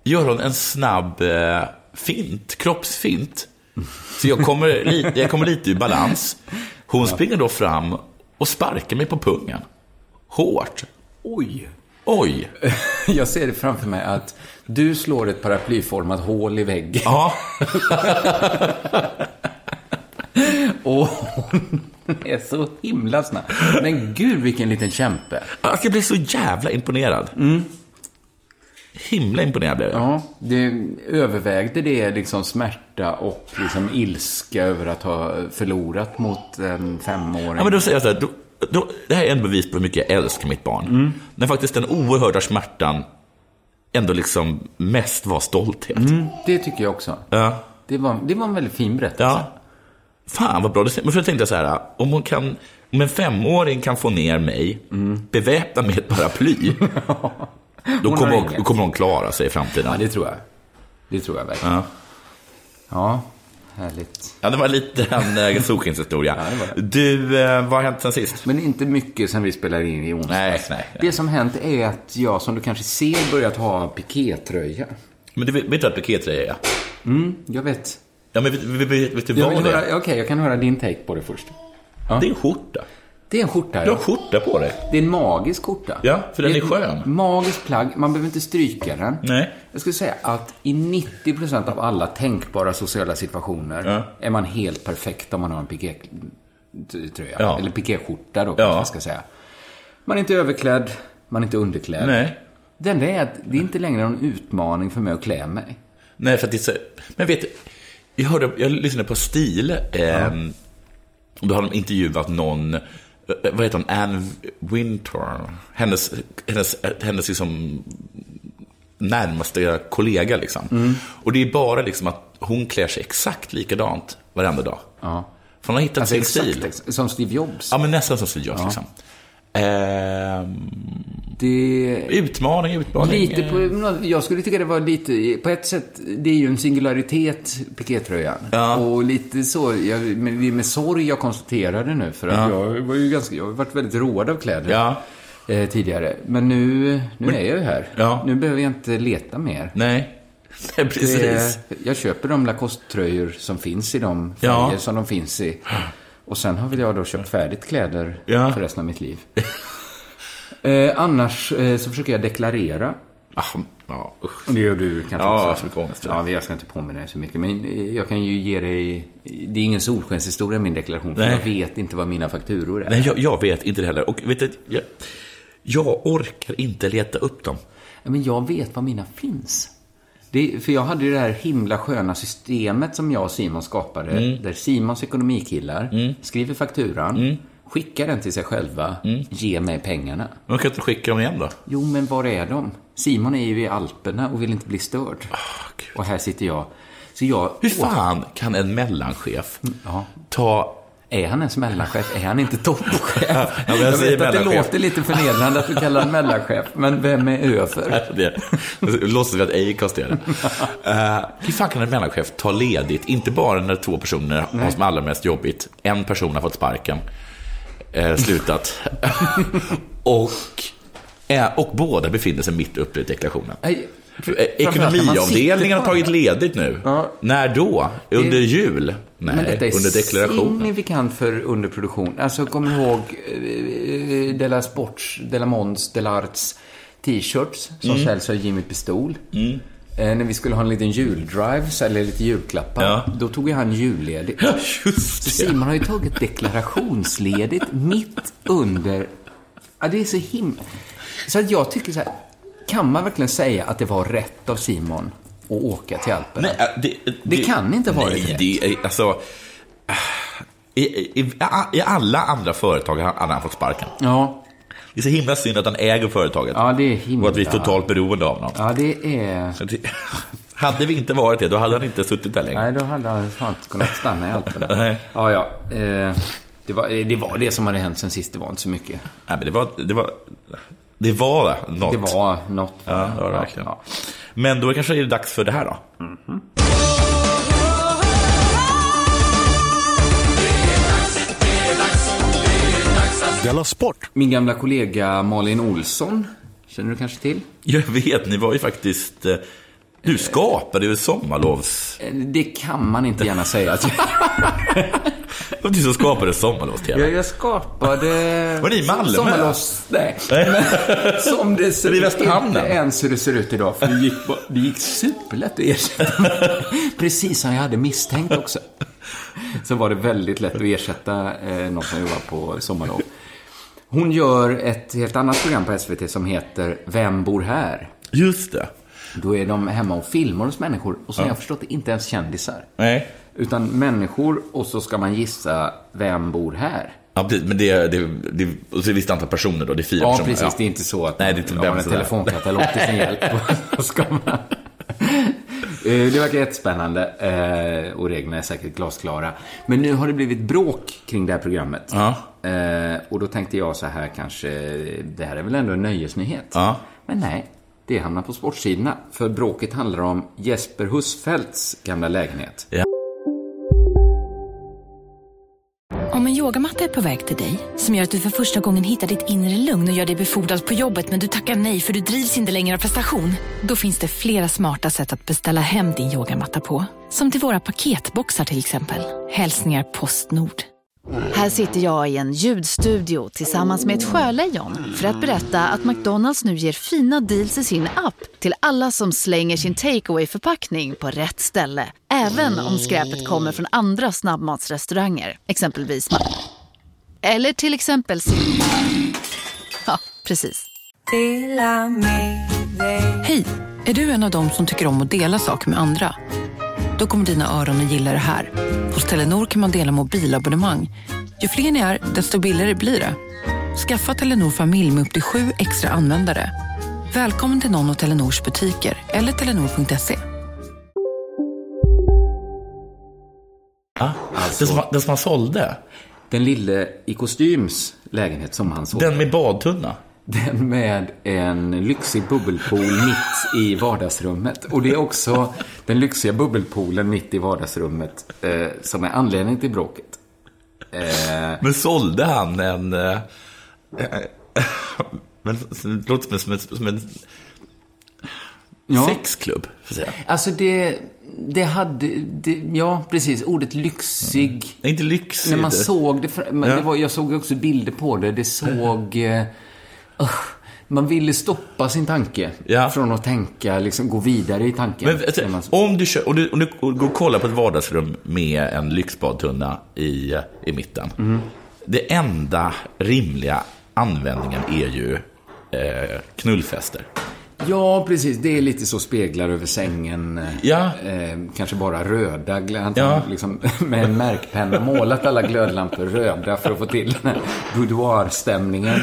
H: gör hon en snabb eh, fint, kroppsfint. Så jag kommer, li- jag kommer lite ur balans. Hon springer då fram och sparkar mig på pungen. Hårt.
J: Oj!
H: Oj.
J: *laughs* Jag ser det framför mig att du slår ett paraplyformat hål i väggen
H: Ja.
J: och *laughs* är så himla snabb. Men gud, vilken liten kämpe.
H: Alltså, jag blev så jävla imponerad. Himla imponerad blev jag.
J: Ja, det övervägde det liksom smärta och liksom ilska över att ha förlorat mot en femåring?
H: Ja, men då säger jag så här, då, då, det här är en bevis på hur mycket jag älskar mitt barn. När faktiskt den oerhörda smärtan ändå liksom mest var stolthet.
J: Det tycker jag också.
H: Ja.
J: Det, var, det var en väldigt fin berättelse.
H: Ja. Fan vad bra. Det- Men så tänkte jag så här, om, hon kan, om en femåring kan få ner mig, beväpna med ett
J: *laughs*
H: paraply, då
J: Hon
H: kommer
J: har
H: hon, då
J: inget.
H: kommer hon klara sig i framtiden.
J: Ja, det tror jag. Det tror jag verkligen.
H: Ja.
J: Ja, härligt.
H: Ja, det var lite en
J: *laughs*
H: äh, solskenshistoria. Du, eh, vad har hänt sen sist?
J: Men inte mycket sen vi spelade in i onsdags.
H: Nej, nej, nej.
J: Det som hänt är att jag, som du kanske ser, börjat ha pikétröja.
H: Men du vet vet du vad pikettröja är?
J: Jag vet.
H: Ja, men vet, vet, vet, vet du
J: Jag
H: vad
J: vill
H: Mm. det
J: höra,
H: är?
J: okej, jag kan höra din take på det först.
H: Det är en skjorta.
J: Det är en skjorta,
H: Du
J: ja.
H: har skjorta på dig.
J: Det är en magisk skjorta.
H: Ja, för den
J: Det
H: är skön.
J: ett Magiskt plagg. Man behöver inte stryka den.
H: Nej.
J: Jag skulle säga att i 90% av alla tänkbara sociala situationer
H: Ja.
J: är man helt perfekt om man har en pikétröja.
H: Ja.
J: Eller pikéskjorta då,
H: Ja.
J: kanske jag ska säga. Man är inte överklädd, man är inte underklädd.
H: Nej.
J: Det enda är att det är inte längre någon utmaning för mig att klä mig.
H: Nej, för att det är så... Men vet du, jag, hörde, jag lyssnade på Stil. Eh, Då har de intervjuat någon, eh, vad heter hon, Anne Wintour. Hennes, hennes, hennes liksom närmaste kollega liksom.
J: Mm.
H: Och det är bara liksom att hon klär sig exakt likadant varenda dag.
J: Ja.
H: För hon har hittat
J: Alltså
H: sin
J: exakt,
H: stil.
J: ex- som Steve Jobs.
H: Ja, men nästan som Steve Jobs liksom. Ehm,
J: Det
H: utmaning, utmaning.
J: Lite på, nå- jag skulle tycka det var lite, på ett sätt, det är ju en singularitet, pikétröjan. Och lite så, jag, men det är med sorg jag konstaterade nu, för att jag var ju ganska, jag har varit väldigt road av kläder
H: Ja.
J: eh, tidigare. Men nu, nu är jag ju här.
H: Ja.
J: Nu behöver jag inte leta mer.
H: Nej. *laughs* Nej, precis.
J: Det- jag köper de Lacoste-tröjor som finns i de
H: Ja.
J: färger som de finns i. Och sen har väl jag då köpt färdigt kläder
H: Ja.
J: för resten av mitt liv. eh, annars eh, så försöker jag deklarera.
H: Ah, ja, usch.
J: Och det gör du kanske
H: Ja, jag
J: också?
H: får mycket ångest, tror jag.
J: Ja, jag ska inte påminna dig så mycket. Men eh, jag kan ju ge dig... Det är ingen solskenshistoria min deklaration. För
H: Nej.
J: jag vet inte vad mina fakturor är.
H: Nej, jag, jag vet inte det heller. Och vet du, jag, jag orkar inte leta upp dem.
J: Men jag vet vad mina finns. Det, för jag hade ju det här himla sköna systemet som jag och Simon skapade.
H: Mm.
J: Där Simons ekonomikillar skriver fakturan, skickar den till sig själva,
H: Mm.
J: ger mig pengarna.
H: Men kan inte skicka dem igen då?
J: Jo, men var är de? Simon är ju i Alperna och vill inte bli störd.
H: Gud.
J: och här sitter jag. Så jag...
H: Ah. Hur fan kan en mellanchef
J: Ja.
H: ta... *laughs*
J: Är han ens mellanchef? Är han inte toppchef?
H: men jag
J: jag
H: säger
J: vet att det
H: mellanchef.
J: låter lite förnedrande att du kallar honom mellanchef, men vem är över?
H: Det låtsas vi att Acast är det. *laughs* Eh, hur fan kan en mellanchef ta ledigt, inte bara när två personer har som allra mest jobbigt, en person har fått sparken, eh, *laughs* slutat, och, eh, och båda befinner sig mitt uppe i deklarationen.
J: Nej,
H: Eh,
J: framförallt när man sitter
H: Ekonomiavdelningen har
J: på
H: tagit
J: det.
H: ledigt nu.
J: Ja.
H: När då? Under jul? Nej,
J: Men detta är
H: under deklarationen.
J: signifikant för underproduktion. Alltså, kom ihåg eh, Della Sports, Della Mons, Della Arts t-shirts som
H: Mm.
J: säljs av Jimmy Pistol. Eh, när vi skulle ha en liten juldrive, så- eller lite julklappar,
H: Ja.
J: då tog ju han julledigt. Så
H: Just det.
J: Simon har ju tagit deklarationsledigt
H: *laughs*
J: mitt under... Ja, det är så himla... Så att jag tycker så här, kan man verkligen säga att det var rätt av Simon att åka till Alperna?
H: Nej, äh, det, det,
J: kan inte vara
H: nej,
J: rätt.
H: det. är- Alltså, äh, i, i, I alla andra företag har han- han fått sparken.
J: Ja,
H: Det är så himla synd att han äger företaget.
J: ja, det är himla...
H: Och att vi är totalt beroende av honom. *laughs*
J: Ja, det är...
H: Så det- Hade vi inte varit det, då hade han inte suttit där längre.
J: Nej, då hade han fan inte kunnat stanna i Alperna.
H: *laughs* Nej.
J: Ja, ja. Eh, det, var, det var det som hade hänt sen sist, det var inte så mycket.
H: Nej, men det var... Det var, det var något.
J: Det var något.
H: Ja, det var det verkligen. Men då kanske det är dags för det här då.
A: Della Sport!
J: Min gamla kollega Malin Olsson, känner du kanske till?
H: Jag vet, ni var ju faktiskt... eh, Du skapade ju sommarlovs...
J: Eh, Det kan man inte gärna säga att jag...
H: Det var du som skapade sommarlovs-tv.
J: Jag, jag skapade...
H: *laughs* Var det i Malmö?
J: Sommarlovs...
H: *laughs*
J: Nej. Men, som det ser
H: Eller i
J: ut.
H: Västerhamnen?
J: Inte ens hur det ser ut idag.
H: *laughs*
J: För det gick, bara- det gick superlätt att ersätta. Precis som jag hade misstänkt också. så var det väldigt lätt att ersätta eh, något som jag jobbade på sommarlov. Hon gör ett helt annat program på SVT som heter Vem bor här?
H: Just det.
J: Då är de hemma och filmar hos människor och som jag har förstått det inte ens kändisar.
H: Nej.
J: Utan människor och så ska man gissa vem bor här.
H: Ja, precis. Men det är, det, är- det, är- och så är det ett visst antal personer då. Det är fyra
J: Ja,
H: personer.
J: precis. Det är inte så att
H: Nej, det är inte
J: man har en
H: sådär.
J: telefonkatalog till sin hjälp.
H: *laughs*
J: Då ska man... Eh, Det verkar jättespännande eh, och reglerna är säkert glasklara. Men nu har det blivit bråk kring det här programmet. Eh, Och då tänkte jag så här kanske, det här är väl ändå en nöjesnyhet? Men nej, det hamnar på sportsidorna. För bråket handlar om Jesper Husfeldts gamla lägenhet.
K: Om en yogamatta är på väg till dig, som gör att du för första gången hittar ditt inre lugn och gör dig befordrad på jobbet men du tackar nej för du drivs inte längre av prestation. Då finns det flera smarta sätt att beställa hem din yogamatta på. Som till våra paketboxar till exempel. Hälsningar Postnord.
L: Här sitter jag i en ljudstudio tillsammans med ett sjölejon för att berätta att McDonalds nu ger fina deals i sin app till alla som slänger sin takeaway förpackning på rätt ställe. Även om skräpet kommer från andra snabbmatsrestauranger, exempelvis Ma- Eller till exempel Sil- Ja, precis.
M: Hej! Är du en av dem som tycker om att dela saker med andra? Då kommer dina öron att gilla det här. Hos Telenor kan man dela mobilabonnemang. Ju fler ni är, desto billigare blir det. Skaffa Telenor familj med upp till sju extra användare. Välkommen till någon av Telenors butiker eller telenor.se.
H: Ja.
J: Alltså-
H: Den, som, han- den som han sålde?
J: Den lille i kostyms lägenhet som han såg.
H: Den med badtunna?
J: Den med en lyxig bubbelpool mitt i vardagsrummet. Och det är också den lyxiga bubbelpoolen mitt i vardagsrummet eh, som är anledningen till bråket.
H: Men sålde han en... eh,
J: *laughs*
H: eh, Men det låter som en... Som en, som en Sexklubb, får jag säga.
J: Alltså det, det hade, det, ja precis, ordet lyxig.
H: Nej, inte lyxig.
J: När man
H: det-
J: såg det, fra- men
H: Mm. Ja.
J: det var, jag såg också bilder på det,
H: *laughs*
J: det såg... Eh, ugh, man ville stoppa sin tanke från att tänka, liksom gå vidare i tanken.
H: Men, alltså, om, du kör, om, du, om du går och kollar på ett vardagsrum med en lyxbadtunna i, i mitten. Det enda rimliga användningen är ju eh, knullfester.
J: Ja, precis. Det är lite så speglar över sängen. eh,
H: Ja.
J: Eh, kanske bara röda. glöd-
H: Ja.
J: Liksom, *laughs* med en märkpenna målat alla glödlampor röda för att få till den här boudoir-stämningen.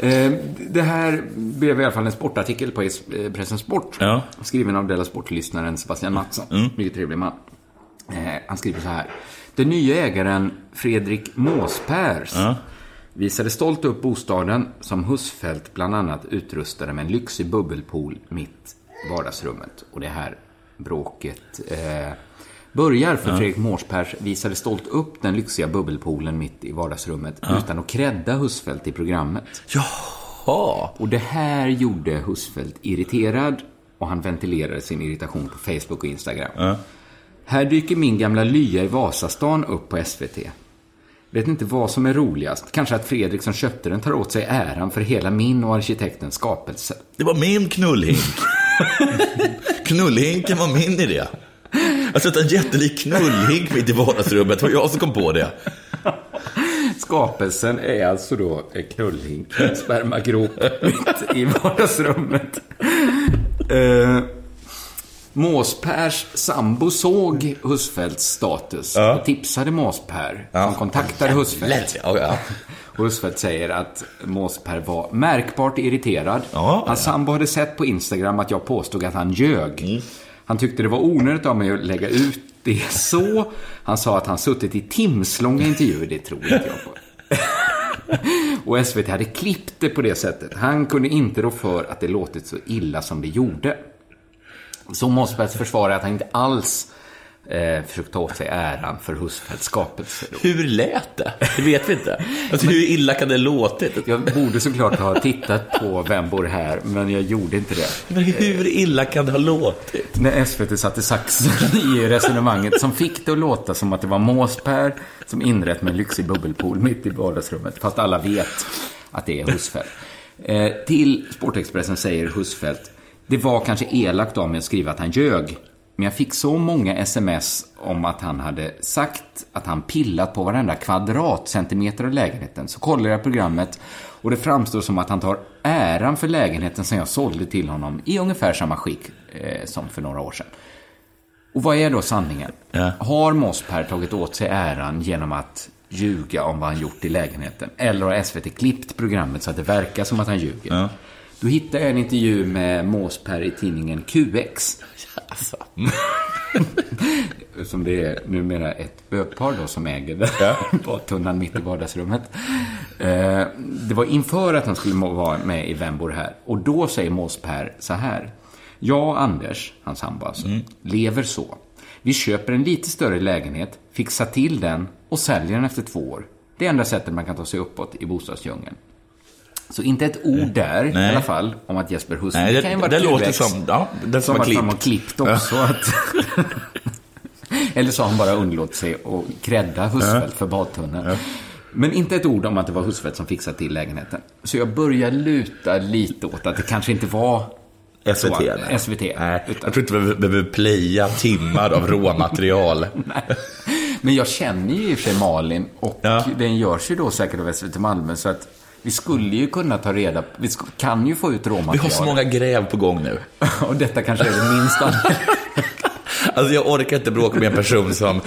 J: Eh, Det här blev i alla fall en sportartikel på es- eh, Pressens Sport. Skriven av Della Sport-lyssnaren Sebastian Mattsson.
H: Mm.
J: Mycket trevlig man. Eh, Han skriver så här. Den nya ägaren Fredrik Måspers visade stolt upp bostaden som Husfeldt bland annat utrustade med en lyxig bubbelpool mitt i vardagsrummet. Och det här bråket eh, börjar för
H: Ja.
J: Fredrik Måspers visade stolt upp den lyxiga bubbelpoolen mitt i vardagsrummet
H: Ja.
J: utan att credda Husfeldt i programmet. Jaha! Och det här gjorde Husfeldt irriterad och han ventilerade sin irritation på Facebook och Instagram. Här dyker min gamla lya i Vasastan upp på SVT. Vet inte vad som är roligast. Kanske att Fredrik som köpte den tar åt sig äran för hela min och arkitektens skapelse.
H: Det var min knullhink. Knullhinken var min idé. Att sätta en jättelik knullhink mitt i vardagsrummet det var jag som kom på det.
J: Skapelsen är alltså då en knullhink, en spermagrop mitt i vardagsrummet. Eh, Måspers sambo såg Husfeldts status och tipsade Måsper. Han kontaktade Husfeldt. Och Husfeldt säger att Måsper var märkbart irriterad. Hans sambo hade sett på Instagram att jag påstod att han ljög.
H: Mm.
J: Han tyckte det var onödigt av mig att lägga ut det så. Han sa att han suttit i timslånga intervjuer, det tror inte jag på. *laughs* Och SVT hade klippt det på det sättet. Han kunde inte rå för att det låtit så illa som det gjorde. Så Mossbergs försvarar att han inte alls eh, försökt ta åt sig äran för Husfeldts skapelse.
H: Hur lät *laughs* det? Det vet vi inte. Alltså, hur illa kan det låtit?
J: Jag borde såklart ha tittat på Vem bor här, men jag gjorde inte det.
H: Men hur illa kan det ha låtit?
J: När SVT satte saxen i resonemanget som fick det att låta som att det var Måsper som inrett med en lyxig bubbelpool mitt i vardagsrummet. Fast alla vet att det är Husfeldt. Eh, till Sportexpressen säger Husfeldt, det var kanske elakt av mig att skriva att han ljög. Men jag fick så många sms om att han hade sagt att han pillat på varenda kvadratcentimeter av lägenheten. Så kollar jag programmet och det framstår som att han tar äran för lägenheten som jag sålde till honom i ungefär samma skick eh, som för några år sedan. Och vad är då sanningen? Har Mossberg tagit åt sig äran genom att ljuga om vad han gjort i lägenheten? Eller har SVT klippt programmet så att det verkar som att han ljuger? Då hittade jag en intervju med Måsberg i tidningen QX. *laughs* som det är numera ett bögpar då som äger den *laughs* badtunnan mitt i vardagsrummet. Eh, Det var inför att han skulle må- vara med i Vem bor här? Och då säger Måsper så här. Jag och Anders, hans sambo alltså,
H: Mm.
J: lever så. Vi köper en lite större lägenhet, fixar till den och säljer den efter två år. Det är enda sättet man kan ta sig uppåt i bostadsdjungeln. Så inte ett ord där i
H: Mm. Nej.
J: alla fall om att Jesper Husby
H: Nej, det-
J: kan ju vara
H: det
J: QX,
H: låter som- ja, det som
J: som
H: är
J: att de har
H: klippt.
J: klippt också. Att, eller så har han bara underlåtit sig att credda Husfeldt för badtunneln. Men inte ett ord om att det var Husfeldt som fixade till lägenheten. Så jag börjar luta lite åt att det kanske inte var
H: SVT.
J: så.
H: nej.
J: SVT.
H: Nej, jag tror inte vi behöver playa timmar av råmaterial.
J: Men jag känner ju i och för sig Malin och den görs ju då säkert av SVT Malmö så att vi skulle ju kunna ta reda på, vi sk- kan ju få ut råmaterial.
H: Vi har så många gräv på gång nu.
J: *laughs* och detta kanske är det minsta.
H: *laughs* Alltså jag orkar inte bråka med en person som,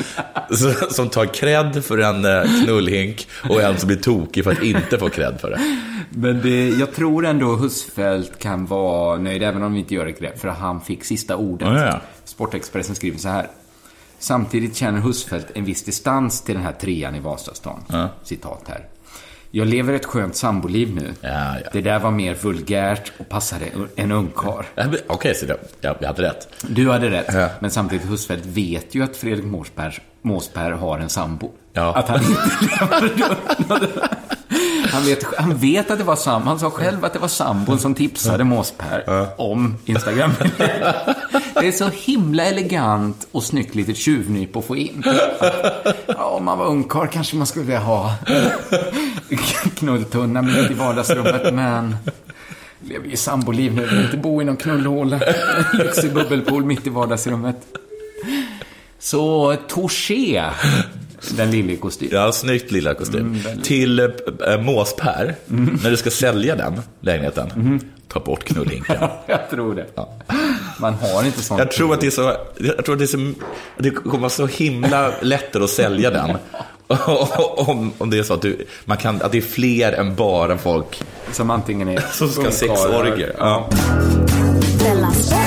H: som tar cred för en eh, knullhink och en som blir tokig för att inte få cred för det.
J: Men det, jag tror ändå Husfeldt kan vara nöjd, även om vi inte gör det grepp, för han fick sista ordet.
H: Ja, ja.
J: Sportexpressen skriver så här. Samtidigt känner Husfeldt en viss distans till den här trean i Vasastan. Citat här. Jag lever ett skönt samboliv nu. Det där var mer vulgärt och passade en ungkarl.
H: Okej, så det, jag, jag hade rätt.
J: Du hade rätt. Men samtidigt, Husfeldt vet ju att Fredrik Måsberg, Måsberg har en sambo. Att han inte Han vet, han vet att det var sam, han sa själv att det var sambon som tipsade Måsper om Instagram. Det är så himla elegant och snyggt litet tjuvnyp att få in. Att, ja, om man var ungkarl kanske man skulle ha knulltunna mitt i vardagsrummet, men lever ju i samboliv nu, vill inte bo i någon knullhåla. Lyxig bubbelpool mitt i vardagsrummet. Så, touché, den lille i kostym.
H: Ja, snyggt lilla kostym. Till äh, Måspär, när du ska sälja den lägenheten, ta bort knullhinken.
J: jag tror det. Man har inte sånt.
H: Jag tror att det är så, jag tror att det, är så, det kommer vara så himla lättare att sälja den. *laughs* om, om det är så att, du, man kan, att det är fler än bara folk
J: som antingen är
H: som ska ha sexorger. Ja.
I: Della Sport.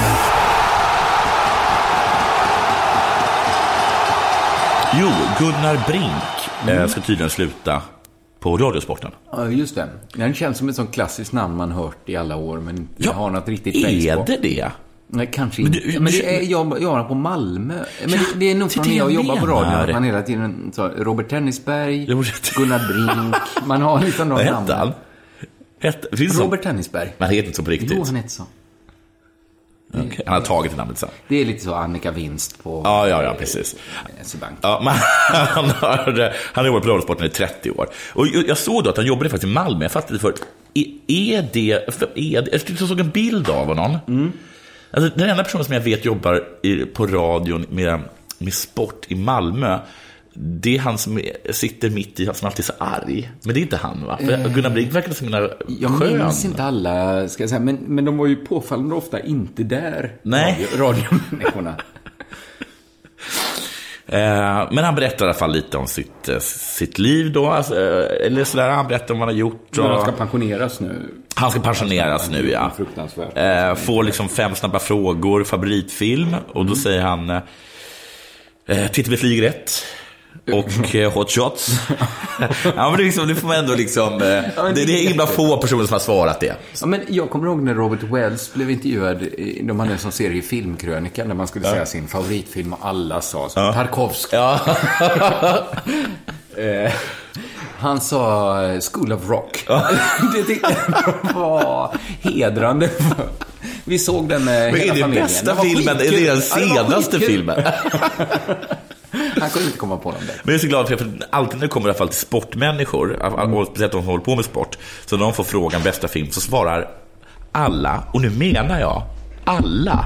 H: Jo, Gunnar Brink eh, ska tydligen sluta på Radiosporten.
J: Ja, just det. Den känns som ett sånt klassiskt namn man hört i alla år, men inte har något riktigt
H: Är
J: face på.
H: det det?
J: Nej, kanske inte. Men, det är jag, jag har på Malmö. Men det, det är nog
H: det är
J: från
H: det
J: när jag
H: jag
J: jobbar på radio.
H: menar.
J: att Man hela tiden sa Robert Tennisberg, Gunnar Brink. Man har liksom
H: Vad
J: några namn.
H: hette han? Hette, finns
J: Robert
H: han?
J: Tennisberg.
H: Men han heter inte så på riktigt.
J: Jo, han heter så.
H: Okej, Han har tagit det namnet sen.
J: Det är lite så Annika Vinst på E
H: Ja, ja, ja, precis.
J: SE-Bank.
H: Ja, *laughs* men han har, han har jobbat på Radiosporten i 30 år. Och jag jag såg då att han jobbade faktiskt i Malmö. Jag fattade inte förut. Är- Är det... för- Är det jag såg en bild av honom. Alltså, den enda personen som jag vet jobbar i, på radion med, med sport i Malmö, det är han som är- sitter mitt i, som alltid är så arg. Men det är inte han, va? För
J: Eh.
H: Gunnar Brink verkar så himla
J: Jag
H: skön.
J: minns inte alla, ska jag säga, men, men de var ju påfallande ofta inte där.
H: Nej. *laughs*
J: Radio- Radiomänniskorna.
H: Eh, Men han berättar i alla fall lite om sitt, eh, sitt liv då. Alltså, eh, eller sådär, han berättar om vad han har gjort.
J: Men
H: och-
J: de ska pensioneras nu.
H: Han ska pensioneras nu, ja.
J: Fruktansvärt.
H: Eh, får liksom fem snabba frågor, favoritfilm. Och
J: Mm.
H: då säger han eh, Titta vi flyger rätt.
J: *laughs*
H: Och eh, hot shots. *laughs* ja, men det, är liksom, det får man ändå liksom... Eh, det, det är himla få personer som har svarat det.
J: Ja, men jag kommer ihåg när Robert Wells blev intervjuad, i- de hade en sån serie i Filmkrönikan där man skulle säga sin favoritfilm och alla sa så, Tarkovsky. *laughs* Eh, Han sa eh, School of Rock. *laughs* det tyckte jag var hedrande. Vi såg den med
H: Men
J: hela
H: är det
J: familjen.
H: bästa
J: var
H: filmen? Är
J: skitkul.
H: det den
J: Ja, det var
H: senaste
J: skitkul.
H: filmen?
J: Han kunde inte komma på någon bättre.
H: Men jag är så glad för det, för alltid när det kommer i alla fall till sportmänniskor,
J: Mm.
H: och speciellt de som håller på med sport, så när de får frågan bästa film så svarar alla, och nu menar jag alla,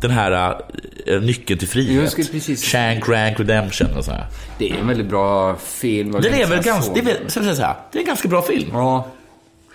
H: Den här eh, Nyckeln till frihet. Shank Rank Redemption och så här.
J: Det är en väldigt bra film.
H: Den är väl
J: Jag
H: ganska,
J: såg
H: det är, väl-
J: den.
H: så att säga så här, det är en ganska bra film.
J: Ja.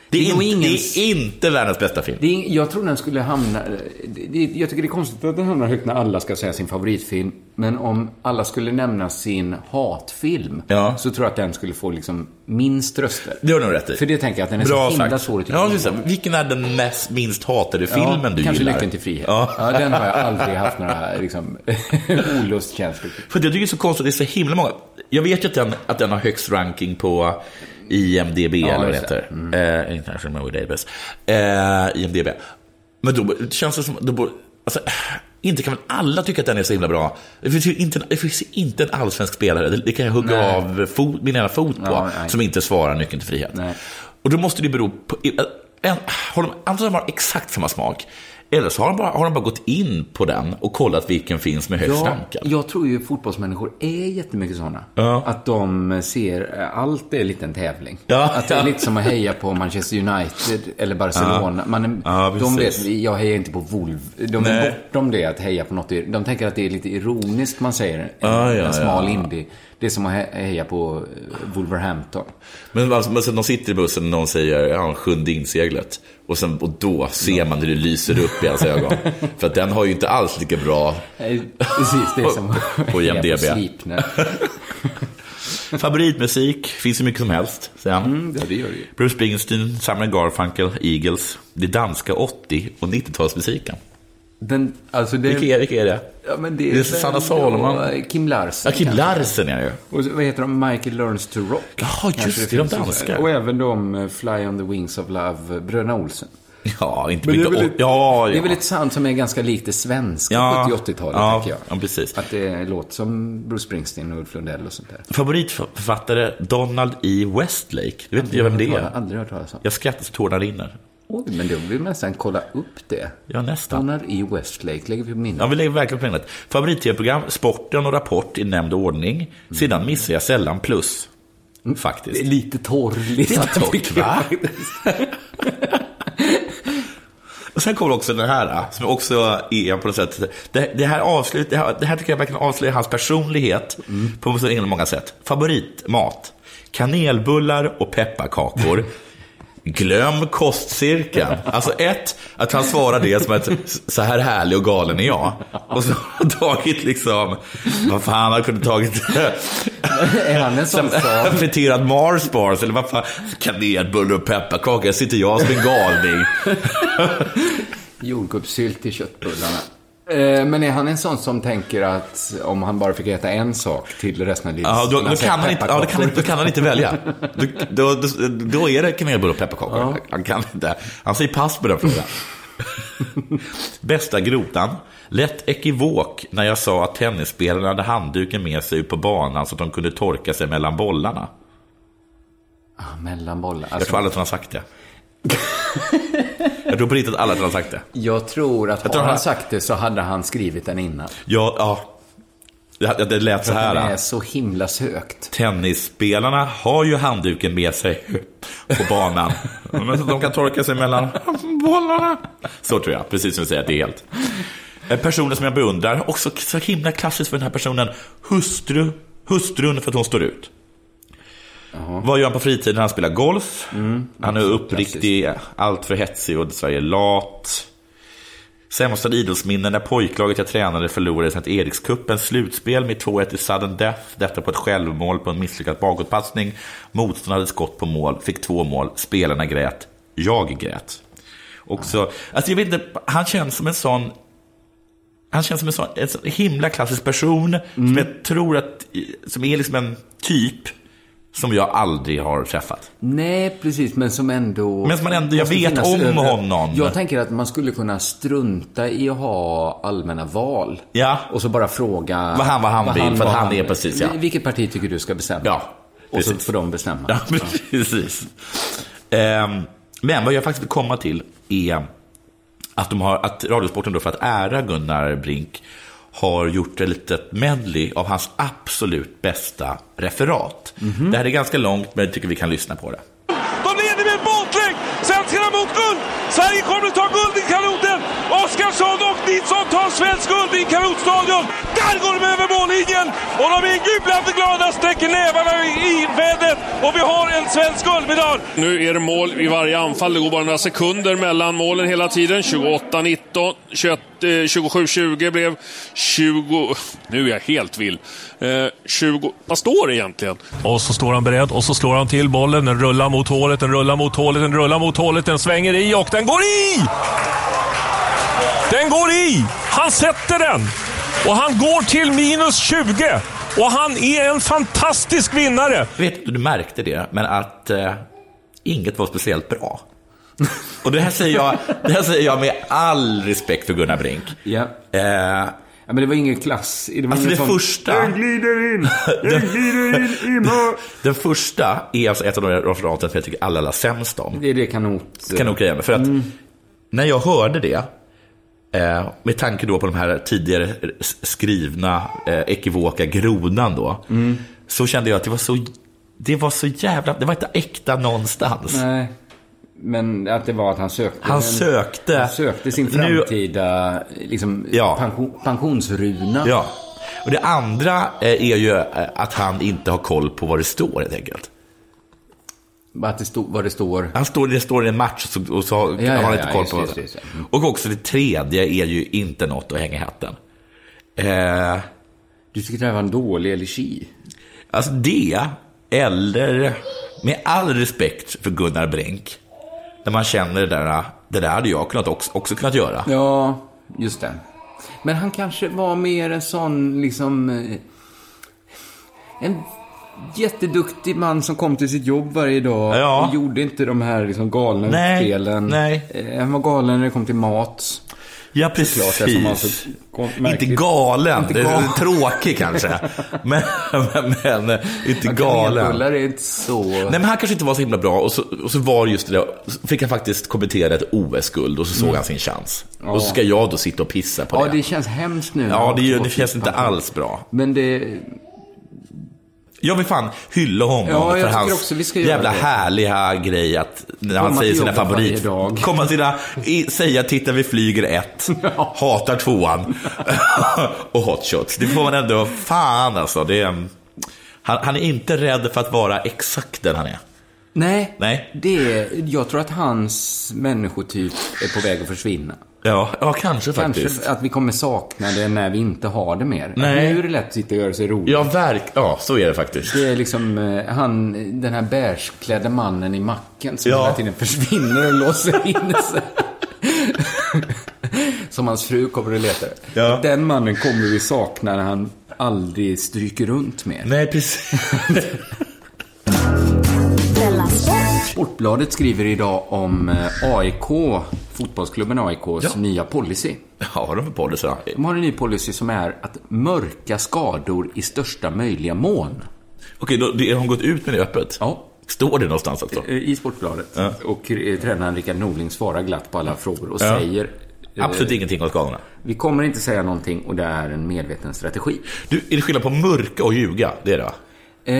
H: Det är,
J: Det är nog
H: inte,
J: ingen-
H: det är inte världens bästa film.
J: Det är, ing- jag tror den skulle hamna... Det, det, jag tycker det är konstigt att den hamnar högt när alla ska säga sin favoritfilm. Men om alla skulle nämna sin hatfilm så tror jag att den skulle få liksom minst röster.
H: Det har du nog rätt i.
J: För det tänker jag att den är så himla
H: sagt.
J: svår att tycka
H: ja,
J: om.
H: just det. Vilken är den mest, minst hatade filmen du
J: kanske
H: gillar?
J: Lyckan till frihet.
H: Ja.
J: Ja. den har jag aldrig haft några liksom, *laughs* olustkänslor
H: För det jag tycker det är så konstigt, det är så himla många. Jag vet ju att den, att den har högst ranking på IMDB, eller vad det
J: just det. Mm.
H: heter. Eh, International Movie Database. Eh, IMDB. Men då det känns det som, då, borde- alltså, inte kan väl alla tycka att den är så himla bra? Det finns ju inte en, det finns ju inte en allsvensk spelare, det, det kan jag hugga
J: Nej.
H: av fot, min ena fot på,
J: Ja, nej.
H: som inte svarar Nyckeln till frihet. Och då måste det bero på, en, har de, antingen har de exakt samma smak, eller så har de, bara, har de bara gått in på den och kollat vilken finns med högst
J: Ja,
H: rank.
J: jag tror ju fotbollsmänniskor är jättemycket sådana. Att de ser eh, allt är lite en tävling. att det är lite som att heja på Manchester United eller Barcelona.
H: Ja.
J: Man, är-
H: Ja,
J: de
H: precis.
J: vet, jag hejar inte på Wolf. De är
H: Nej.
J: bortom det att heja på något. De tänker att det är lite ironiskt man säger en,
H: Ja, ja,
J: en smal
H: ja.
J: indie. Det är som att he- heja på eh, Wolverhampton.
H: Men, alltså, men sen de sitter i bussen och någon säger ja, sjunde inseglet. Och, sen, och då ser man hur det lyser upp i hans
J: *laughs*
H: ögon. För att den har ju inte alls lika bra
J: Eh, Precis, det är som att
H: på
J: heja på
H: IMDB.
J: Sleipner.
H: Favoritmusik finns ju mycket som helst, säger han.
J: Ja, det gör det ju.
H: Bruce Springsteen, Simon Garfunkel, Eagles, det danska 80 och 90-talsmusiken.
J: Den, alltså det...
H: Vilka är, vilka är det?
J: Ja, men
H: Det är Susanna Salomon.
J: Ja, eh, Kim Larsen.
H: Ja, Kim
J: kanske.
H: Larsen är det ju.
J: Och så- vad heter de? Michael Learns to Rock.
H: Jaha,
J: Kanske
H: just det, de
J: finns någon sån här.
H: danskar.
J: Och även de eh, Fly on the Wings of Love, eh, Bröderna Olsen.
H: Ja, inte
J: Men det är
H: mycket.
J: väl-
H: åt- Ja,
J: Det är
H: ja.
J: väl ett sound som är ganska likt det svenska
H: Ja.
J: 70 80-talet,
H: Ja,
J: tänker jag.
H: ja, precis.
J: Att det låter som Bruce Springsteen och Ulf Lundell och sånt där.
H: Favoritförfattare Donald E. Westlake. Du vet inte vem det
J: Jag har
H: är?
J: aldrig hört talas om.
H: Jag skrattar så tårarna rinner.
J: Oj, men då vill man nästan kolla upp det.
H: Ja, nästan.
J: Donald E. Westlake lägger vi på minnet.
H: Ja, vi lägger verkligen på minnet. Favorit-tv-program, Sporten och Rapport i nämnd ordning. Sedan missar jag sällan Plus. Faktiskt.
J: Det är lite torr lista,
H: Det är torrt,
J: tycker jag
H: va?
J: faktiskt.
H: Och sen kommer också den här, äh, som också är på något sätt... Det, det, här, avslut, det, här, det här tycker jag verkligen avslöjar hans personlighet på så himla många sätt. Favoritmat? Kanelbullar och *laughs* pepparkakor. Glöm kostcirkeln. Alltså ett, att han svarar det som att så här härlig och galen är jag. Och så har han tagit liksom, vad fan, han kunde tagit
J: *laughs* är han en sån
H: *laughs*
J: som...
H: friterad Mars bars eller vad fan, kanelbulle och pepparkaka, här sitter jag som en galning.
J: Jordgubbssylt i köttbullarna. Eh, Men är han en sån som tänker att om han bara fick äta en sak till resten av livet
H: Ja,
J: så
H: då,
J: skulle
H: då,
J: han säga
H: kan han inte, ja, då, kan, han
J: pepparkakor.
H: inte- då kan han inte välja. Då, då, då, då är det kanelbulle och pepparkakor. Han kan inte. Han säger pass på den frågan. Bästa grotan. Lätt ekivok när jag sa att tennisspelarna hade handduken med sig ut på banan så att de kunde torka sig mellan bollarna.
J: Ah, mellanbollar.
H: jag tror
J: Alltså,
H: alla att han har sagt det. jag tror på riktigt att alla att han har sagt det.
J: jag tror att
H: Jag tror
J: har
H: han-
J: han sagt det så hade han skrivit den innan.
H: Ja, ja. Det, det lät så här.
J: Det
H: ja.
J: är så himla sökt.
H: Tennisspelarna har ju handduken med sig på *laughs* banan. Men så de kan torka sig mellan bollarna. Så tror jag, precis som du säger att det är helt. Eh, Personer som jag beundrar, också så himla klassiskt för den här personen, hustru, hustrun för att hon står ut. Vad gör han på fritiden? Han spelar golf. han är uppriktig, allt för hetsig och Sverige lat. Sämsta idrottsminnen när pojklaget jag tränade förlorade Sankt Erikscupens slutspel med 2-1 i sudden death. Detta på ett självmål på en misslyckad bakåtpassning. Motståndaren hade skott på mål, fick två mål. Spelarna grät. Jag grät. Också, alltså jag vet inte, han känns som en sån han känns som en sån en sån himla klassisk person som jag tror att, som är liksom en typ som jag aldrig har träffat.
J: Nej, precis, men som ändå...
H: Men som man ändå- jag
J: måste
H: vet
J: finnas
H: om honom.
J: Jag tänker att man skulle kunna strunta i att ha allmänna val.
H: Ja.
J: Och så bara fråga...
H: Vad han- vad han vill, för att
J: vad
H: han är precis, ja.
J: Vil- Vilket parti tycker du ska bestämma?
H: Ja,
J: Och så
H: precis.
J: får de bestämma.
H: Ja, precis. Ehm, men vad jag faktiskt vill komma till är att, de har, att Radiosporten då för att ära Gunnar Brink har gjort ett litet medley av hans absolut bästa referat. Det här är ganska långt, men jag tycker vi kan lyssna på det.
N: De leder med en bollträng! Svenskarna mot guld! Sverige kommer ta guld i kanoten! Oskarsson och Nilsson tar Där går de över mållinjen och de är gubblattglada, sträcker nävarna i vädret och vi har en svensk guldmedalj.
O: Nu är det mål i varje anfall. Det går bara några sekunder mellan målen hela tiden. 28-19, 21, eh, 27-20 blev 20... Nu är jag helt vill. Eh, 20... Vad står det egentligen?
P: Och så står han beredd och så slår han till bollen. Den rullar mot hålet, den rullar mot hålet, den rullar mot hålet. Den svänger i och den går i! Den går i! Han sätter den! Och han går till minus 20! Och han är en fantastisk vinnare!
H: Jag vet inte om du märkte det, men att eh, inget var speciellt bra. Och det här, säger jag, det här säger jag med all respekt för Gunnar Brink.
J: Ja.
H: Eh,
J: Ja, men det var ingen klass. Det var
H: Alltså
J: ingen
H: det första- Den
J: glider in!
H: Den
J: glider in i *laughs* mål!
H: Den första är alltså ett av de referaten som jag tycker allra, allra sämst om.
J: Det är det kanot...
H: Kanotgrejen. För att när jag hörde det, eh, med tanke då på de här tidigare s- skrivna eh, ekivoka grodan då, så kände jag att det var så, det var så jävla, det var inte äkta någonstans.
J: Nej. Men att det var att han sökte...
H: Han sökte-
J: Han sökte sin
H: Nu-
J: framtida liksom, pension, pensionsruna.
H: Ja. Och det andra eh, är ju eh, att han inte har koll på vad det står helt enkelt.
J: Att det stod, vad det står?
H: Han står, det står i en match och så, och så har
J: ja,
H: han
J: ja,
H: inte koll
J: just
H: på
J: det,
H: vad
J: just det, just det. Mm.
H: Och också det tredje är ju inte något att hänga i hatten. Eh,
J: Du tycker det här var en dålig elegi?
H: Alltså det, eller med all respekt för Gunnar Brink, när man känner det där, det där hade jag kunnat också, också kunnat göra.
J: Ja, just det. Men han kanske var mer en sån, liksom... eh, En jätteduktig man som kom till sitt jobb varje dag
H: Ja.
J: och gjorde inte de här liksom, galna
H: Nej,
J: utspelen.
H: nej.
J: Eh, Han var galen när det kom till mat.
H: Ja,
J: Såklart, det som var så kon-
H: inte
J: märkligt.
H: galen,
J: Inte
H: det är
J: galen.
H: tråkig kanske.
J: *laughs*
H: Men, men, men eh, inte galen.
J: Kanelbullar är inte så...
H: Nej, men han kanske inte var så himla bra och så, och så var det just det där, så fick han faktiskt kommentera ett OS-guld och så såg
J: Mm.
H: han sin chans.
J: Ja.
H: Och så ska jag då sitta och pissa på
J: Ja,
H: det.
J: det känns hemskt nu.
H: Ja, det, gör- det känns inte alls bra.
J: Men det...
H: Jag vill fan hylla honom
J: Ja, jag
H: för
J: tycker
H: hans
J: också vi ska göra
H: jävla
J: det.
H: härliga grej att när han
J: Komma
H: säger
J: till
H: sina
J: jobbet varje
H: favorit...
J: dag.
H: *laughs* Komma sina, i, säga titta vi flyger
J: *laughs*
H: ett, hatar tvåan *laughs* och hot shots. Det får man ändå, fan alltså. Det är, han, han är inte rädd för att vara exakt den han är.
J: Nej.
H: Nej.
J: Det är, jag tror att hans människotyp är på väg att försvinna.
H: Ja, ja kanske
J: Kanske
H: faktiskt.
J: att vi kommer sakna det när vi inte har det mer.
H: Nej.
J: Nu är det lätt att sitta och göra sig rolig.
H: Ja, verk, ja, så är det faktiskt.
J: Det är liksom eh, han, den här bärsklädda mannen i macken som
H: Ja.
J: hela tiden försvinner och låser in sig. som hans fru kommer att leta ja. Den mannen kommer vi sakna när han aldrig stryker runt mer.
H: Nej, precis. *laughs*
I: Della Sport.
J: Sportbladet skriver idag om eh, AIK, fotbollsklubben AIKs nya policy.
H: Ja, vad har de för policy då?
J: De har en ny policy som är att mörka skador i största möjliga mån.
H: Okej, då, det- har de gått ut med det öppet?
J: Ja.
H: Står det någonstans alltså?
J: Eh, I Sportbladet. Och eh, tränaren Rickard Norling svarar glatt på alla frågor och
H: Ja.
J: säger... eh,
H: Absolut ingenting åt skadorna.
J: Vi kommer inte säga någonting och det är en medveten strategi.
H: Du, är det skillnad på mörka och ljuga? Det är det va?
J: Eh,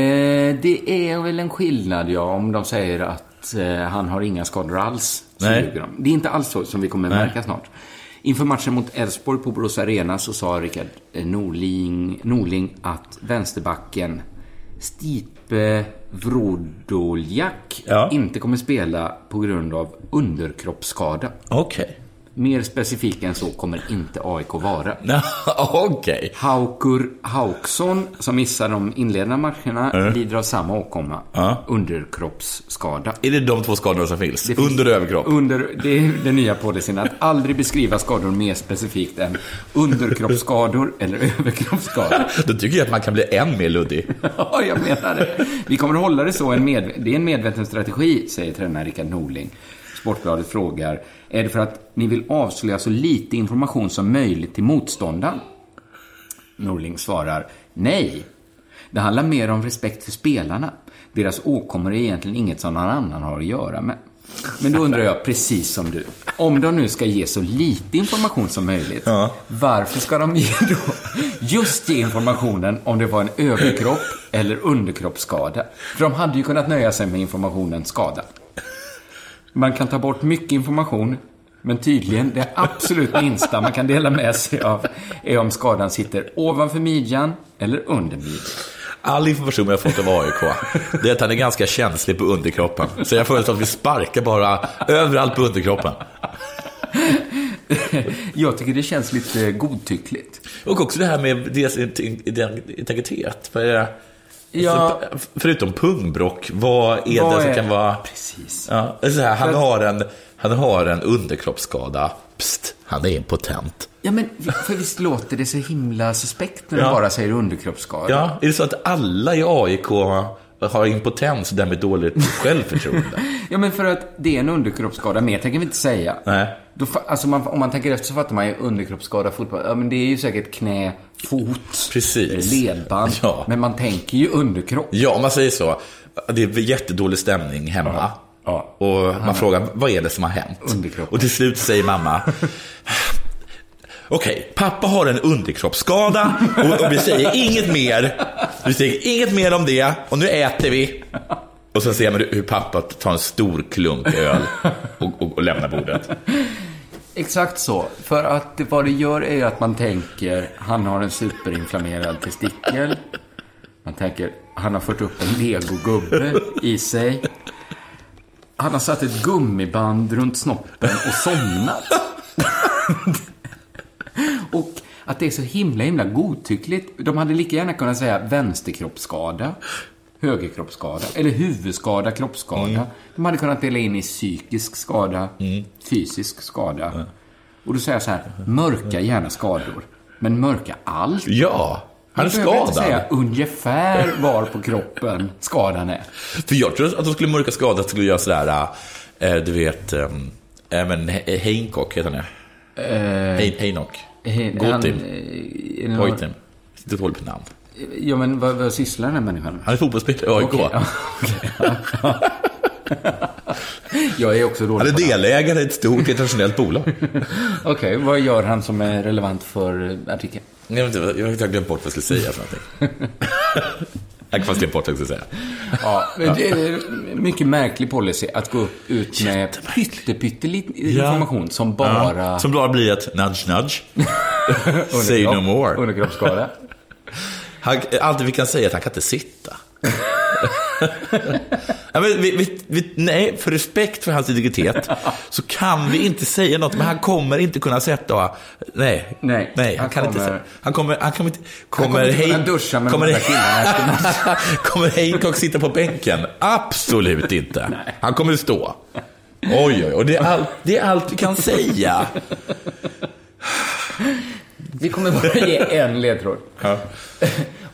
J: det är väl en skillnad, ja, om de säger att eh, han har inga skador alls. Så
H: Nej.
J: ljuger de. Det är inte alls så som vi kommer
H: Nej.
J: märka snart. Inför matchen mot Elfsborg på Borås Arena så sa Rickard eh, Norling, Norling att vänsterbacken Stipe Vrodoljak inte kommer spela på grund av underkroppsskada.
H: Okej.
J: Mer specifik än så kommer inte AIK vara.
H: *laughs* Okej.
J: Haukur Hauksson, som missar de inledande matcherna,
H: Mm.
J: lider av samma åkomma. Underkroppsskada.
H: Är det de två skadorna som finns?
J: Det finns-
H: Under och överkropp?
J: Under, det är den nya policyn, att aldrig beskriva skador mer specifikt än underkroppsskador eller överkroppsskador. *laughs*
H: Då tycker jag att man kan bli än mer luddig.
J: Ja, jag menar det. Vi kommer att hålla det så. En medve- det är en medveten strategi, säger tränaren Rickard Norling. Sportbladet frågar, är det för att ni vill avslöja så lite information som möjligt till motståndaren? Norling svarar, nej. Det handlar mer om respekt för spelarna. Deras åkommor är egentligen inget som någon annan har att göra med. Men då undrar jag, precis som du, om de nu ska ge så lite information som möjligt, varför ska de ge då just ge informationen om det var en överkropp eller underkroppsskada? För de hade ju kunnat nöja sig med informationen skada. Man kan ta bort mycket information Men tydligen, det absolut minsta man kan dela med sig av är om skadan sitter ovanför midjan eller under midjan.
H: All information jag fått av AIK, det är att han är ganska känslig på underkroppen. Så jag föreslår att vi sparkar bara överallt på underkroppen.
J: Jag tycker det känns lite godtyckligt.
H: Och också det här med deras integritet. Vad är det? Ja. För, förutom pungbrock, vad är vad det som är... kan vara...
J: Precis.
H: Ja, så här, han, För... har en, han har en underkroppsskada. Psst, han är impotent.
J: Ja, men för visst låter det så himla suspekt när ja. du bara säger underkroppsskada?
H: Ja, är det så att alla i AIK har impotens och därmed dåligt
J: *laughs*
H: självförtroende?
J: ja, men för att det är en underkroppsskada, mer tänker vi inte säga.
H: Nej.
J: Då, alltså man, om man tänker efter så fattar man ju underkroppsskada, fotboll. Ja, men det är ju säkert knä, fot, eh,
H: Precis.
J: ledband.
H: Ja.
J: Men man tänker ju underkropp.
H: Ja, om man säger så. Det är jättedålig stämning hemma. Ja.
J: Ja.
H: Och man frågar, vad är det som har hänt?
J: Underkroppen.
H: Och till slut säger mamma, Okej, pappa har en underkroppsskada och, och, vi säger inget mer. Vi säger inget mer om det och nu äter vi. Och sen ser man hur pappa tar en stor klunk öl och, och, och lämnar bordet.
J: Exakt så. För att vad det gör är att man tänker, han har en superinflammerad testikel. Man tänker, han har fört upp en legogubbe i sig. Han har satt ett gummiband runt snoppen och somnat. Och att det är så himla, himla godtyckligt. De hade lika gärna kunnat säga vänsterkroppsskada, högerkroppsskada, eller huvudskada, kroppsskada. Mm. De hade kunnat dela in i psykisk skada, mm. fysisk skada. Mm. Och då säger jag så här, mörka gärna skador, men mörka allt.
H: Ja! Han är skadad.
J: Jag inte säga ungefär var på kroppen skadan är.
H: För jag tror att de skulle mörka skadat skulle göra sådär, äh, du vet, äh, men Hancock heter han ja. Eh, Heinok.
J: Eh,
H: Gotim. Goitim. Sitter dåligt på namn.
J: Ja, men vad, vad sysslar den här människan med?
H: Han är fotbollsspelare i AIK. Okay, ja,
J: okay. *laughs* jag är också dålig
H: Han är delägare i ett stort internationellt bolag.
J: Okej, okay, vad gör han som är relevant för eh, artikeln?
H: Jag, vet inte, jag har glömt bort vad jag skulle säga för *laughs* någonting. Jag kan glömt bort vad jag skulle säga.
J: Ja, det är mycket märklig policy att gå upp ut med pytteliten information som bara... Ja,
H: som bara blir ett nudge *laughs* nudge. Say no more.
J: Underkroppsskada.
H: Allt vi kan säga är att han kan inte sitta. *laughs* ja, vi, vi, vi, nej, för respekt för hans integritet så kan vi inte säga något, men han kommer inte kunna sätta... Nej,
J: nej,
H: nej han, kan
J: kommer,
H: inte säga. Han kommer... Han kommer,
J: kommer, han kommer inte kunna duscha med
H: kommer,
J: de där killarna
H: *laughs* Kommer Hancock sitta på bänken? Absolut inte. Nej. Han kommer stå. Oj, oj, oj. Det är, all, det är allt vi kan säga. *laughs*
J: Vi kommer bara ge en ledtråd.
H: Ja.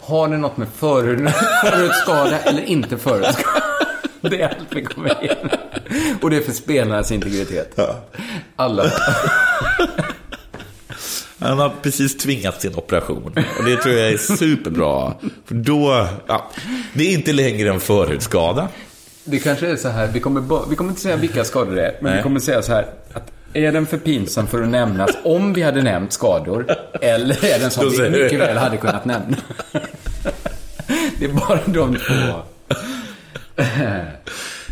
J: Har ni något med förut, förutskada eller inte förutskada? *laughs* Det är allt vi kommer ge. Och det är för spelarnas integritet.
H: Ja.
J: Alla.
H: Han har precis tvingat sin operation. Och det tror jag är superbra. För då, ja, det är inte längre en förhudskada.
J: Det kanske är så här, vi kommer, vi kommer inte säga vilka skador det är, men Nej. vi kommer säga så här. Att är den för pinsam för att nämnas om vi hade nämnt skador? Eller är den som vi mycket väl hade kunnat nämna? Det är bara de två.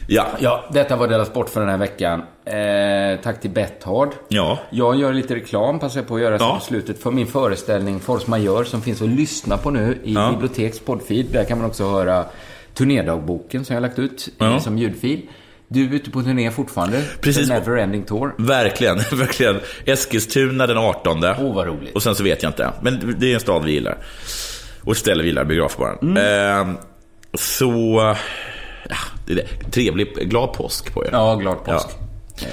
H: Ja.
J: ja, detta var Della Sport för den här veckan. Eh, tack till Betthard.
H: Ja.
J: Jag gör lite reklam, passar på att göra ja. som slutet, för min föreställning Force Major som finns att lyssna på nu i ja. Biblioteks poddfeed. Där kan man också höra turnédagboken som jag har lagt ut ja. som ljudfil. Du är ute på turné fortfarande.
H: Precis.
J: Neverending Tour.
H: Verkligen, *laughs* verkligen. Eskilstuna den 18. Åh,
J: oh, vad roligt.
H: Och sen så vet jag inte. Men det är en stad vi gillar. Och ett ställe vi gillar, biografbaren. Mm. Eh, så... Ja, det är det. Trevlig, glad påsk på er.
J: Ja, glad påsk.
H: Ja.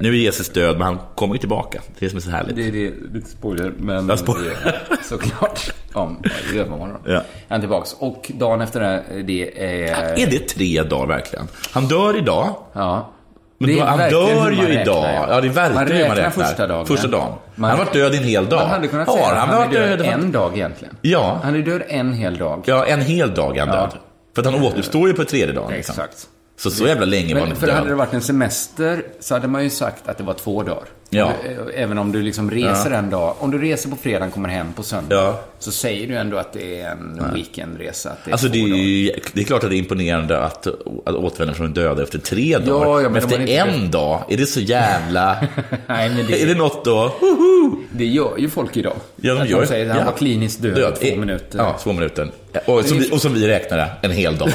H: Nu är Jesus död, men han kommer ju tillbaka. Det är det som är så härligt.
J: Det är det, lite spoiler, men
H: jag spoiler.
J: Det *laughs* såklart. Om övermorgon.
H: Ja.
J: Han är tillbaks. Och dagen efter det, det är...
H: Är det tre dagar verkligen? Han dör idag.
J: Ja.
H: Men då, han dör ju
J: räknar,
H: idag. Ja. ja, det är verkligen man räknar, man räknar.
J: första dagen.
H: Första dagen. Man, han har varit död en hel dag.
J: Man hade kunnat säga ja,
H: han,
J: han varit är död, död en dag egentligen.
H: Ja.
J: Han är död en hel dag.
H: Ja, en hel dag är han död. För att han återuppstår ju på tredje dagen.
J: Liksom. Exakt.
H: Så så jävla länge
J: men,
H: var han
J: För död. hade det varit en semester så hade man ju sagt att det var två dagar.
H: Ja.
J: Du, även om du liksom reser
H: Ja.
J: en dag. Om du reser på fredag kommer hem på söndag.
H: Ja.
J: Så säger du ändå att det är en weekendresa. Att det är
H: Alltså
J: två
H: det är, ju, det är klart att det är imponerande att, att återvända från de döda efter tre dagar.
J: ja, men
H: men
J: om
H: efter
J: man inte-
H: en dag, är det så jävla... *laughs*
J: Nej, *laughs* men
H: Är det något då?
J: Det gör ju folk idag.
H: Ja, de
J: Att
H: gör
J: de säger att han var kliniskt död, två
H: I-
J: minuter.
H: Ja, två minuter. Och som, vi, och som vi räknade, en hel dag.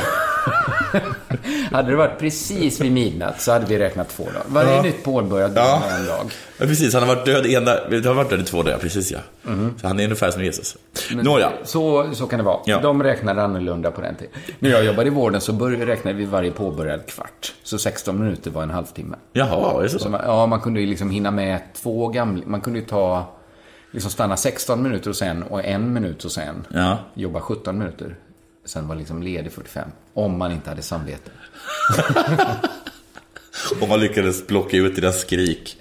J: Hade det varit precis vid midnatt så hade vi räknat två dagar. Varje
H: Ja.
J: nytt påbörjat dygn
H: Ja.
J: är en dag.
H: Ja, precis, han har varit död, i ena, han har varit död i två dagar, precis ja. Så han är ungefär som Jesus.
J: Mhm. Men
H: Nåja.
J: Så, så kan det vara.
H: Ja.
J: De räknade annorlunda på den tiden. När jag jobbade i vården så började, räknade vi varje påbörjad kvart. Så 16 minuter var en halvtimme.
H: Jaha, är det så?
J: man, ja, man kunde ju liksom hinna med två gamla... Man kunde ju ta... Liksom stanna 16 minuter och sen och en minut och sen.
H: Ja.
J: Jobba 17 minuter. Sen var liksom ledig 45. Om man inte hade samvete.
H: Och man lyckades plocka ut deras skrik.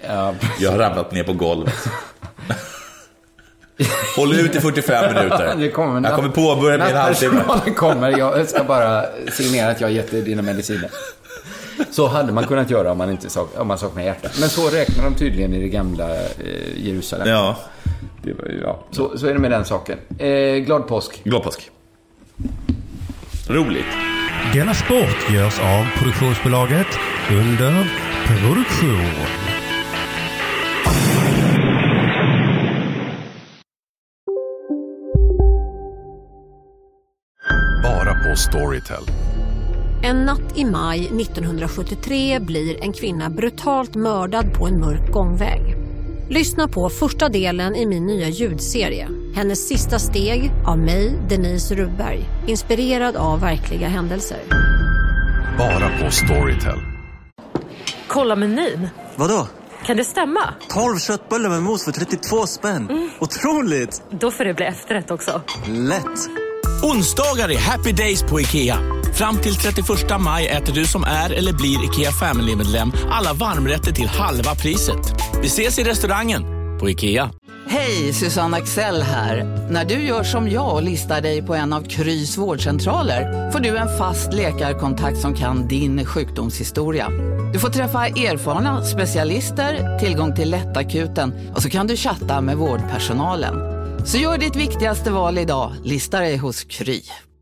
H: Jag har ramlat ner på golvet. Håll ut i 45 minuter.
J: *laughs* Det kommer
H: jag kommer påbörja min
J: *laughs*
H: halvtimme.
J: Personalen kommer. Jag ska bara signera att jag har gett dig dina mediciner. Så hade man kunnat göra om man, inte sak, om man saknar hjärta. Men så räknar de tydligen i det gamla eh, Jerusalem.
H: Ja.
J: Det var ju, ja. Så, så är det med den saken. Eh, glad påsk.
H: Glad påsk. Roligt.
P: Denna sport görs av produktionsbolaget under produktion.
D: Bara på Storytel.
C: En natt i maj 1973 blir en kvinna brutalt mördad på en mörk gångväg. Lyssna på första delen i min nya ljudserie. Hennes sista steg av mig, Denise Rubberg. Inspirerad av verkliga händelser.
D: Bara på Storytel.
Q: Kolla menyn.
R: Vadå?
Q: Kan det stämma? Mm.
R: 12 köttbullar med mos för 32 spänn. Otroligt!
Q: Då får det bli efterrätt också.
R: Lätt!
S: Onsdagar är happy days på IKEA. Fram till 31 maj äter du som är eller blir IKEA Family-medlem alla varmrätter till halva priset. Vi ses i restaurangen på IKEA.
T: Hej, Susanne Axel här. När du gör som jag och listar dig på en av Krys vårdcentraler får du en fast läkarkontakt som kan din sjukdomshistoria. Du får träffa erfarna specialister, tillgång till lättakuten och så kan du chatta med vårdpersonalen. Så gör ditt viktigaste val idag, lista dig hos Kry.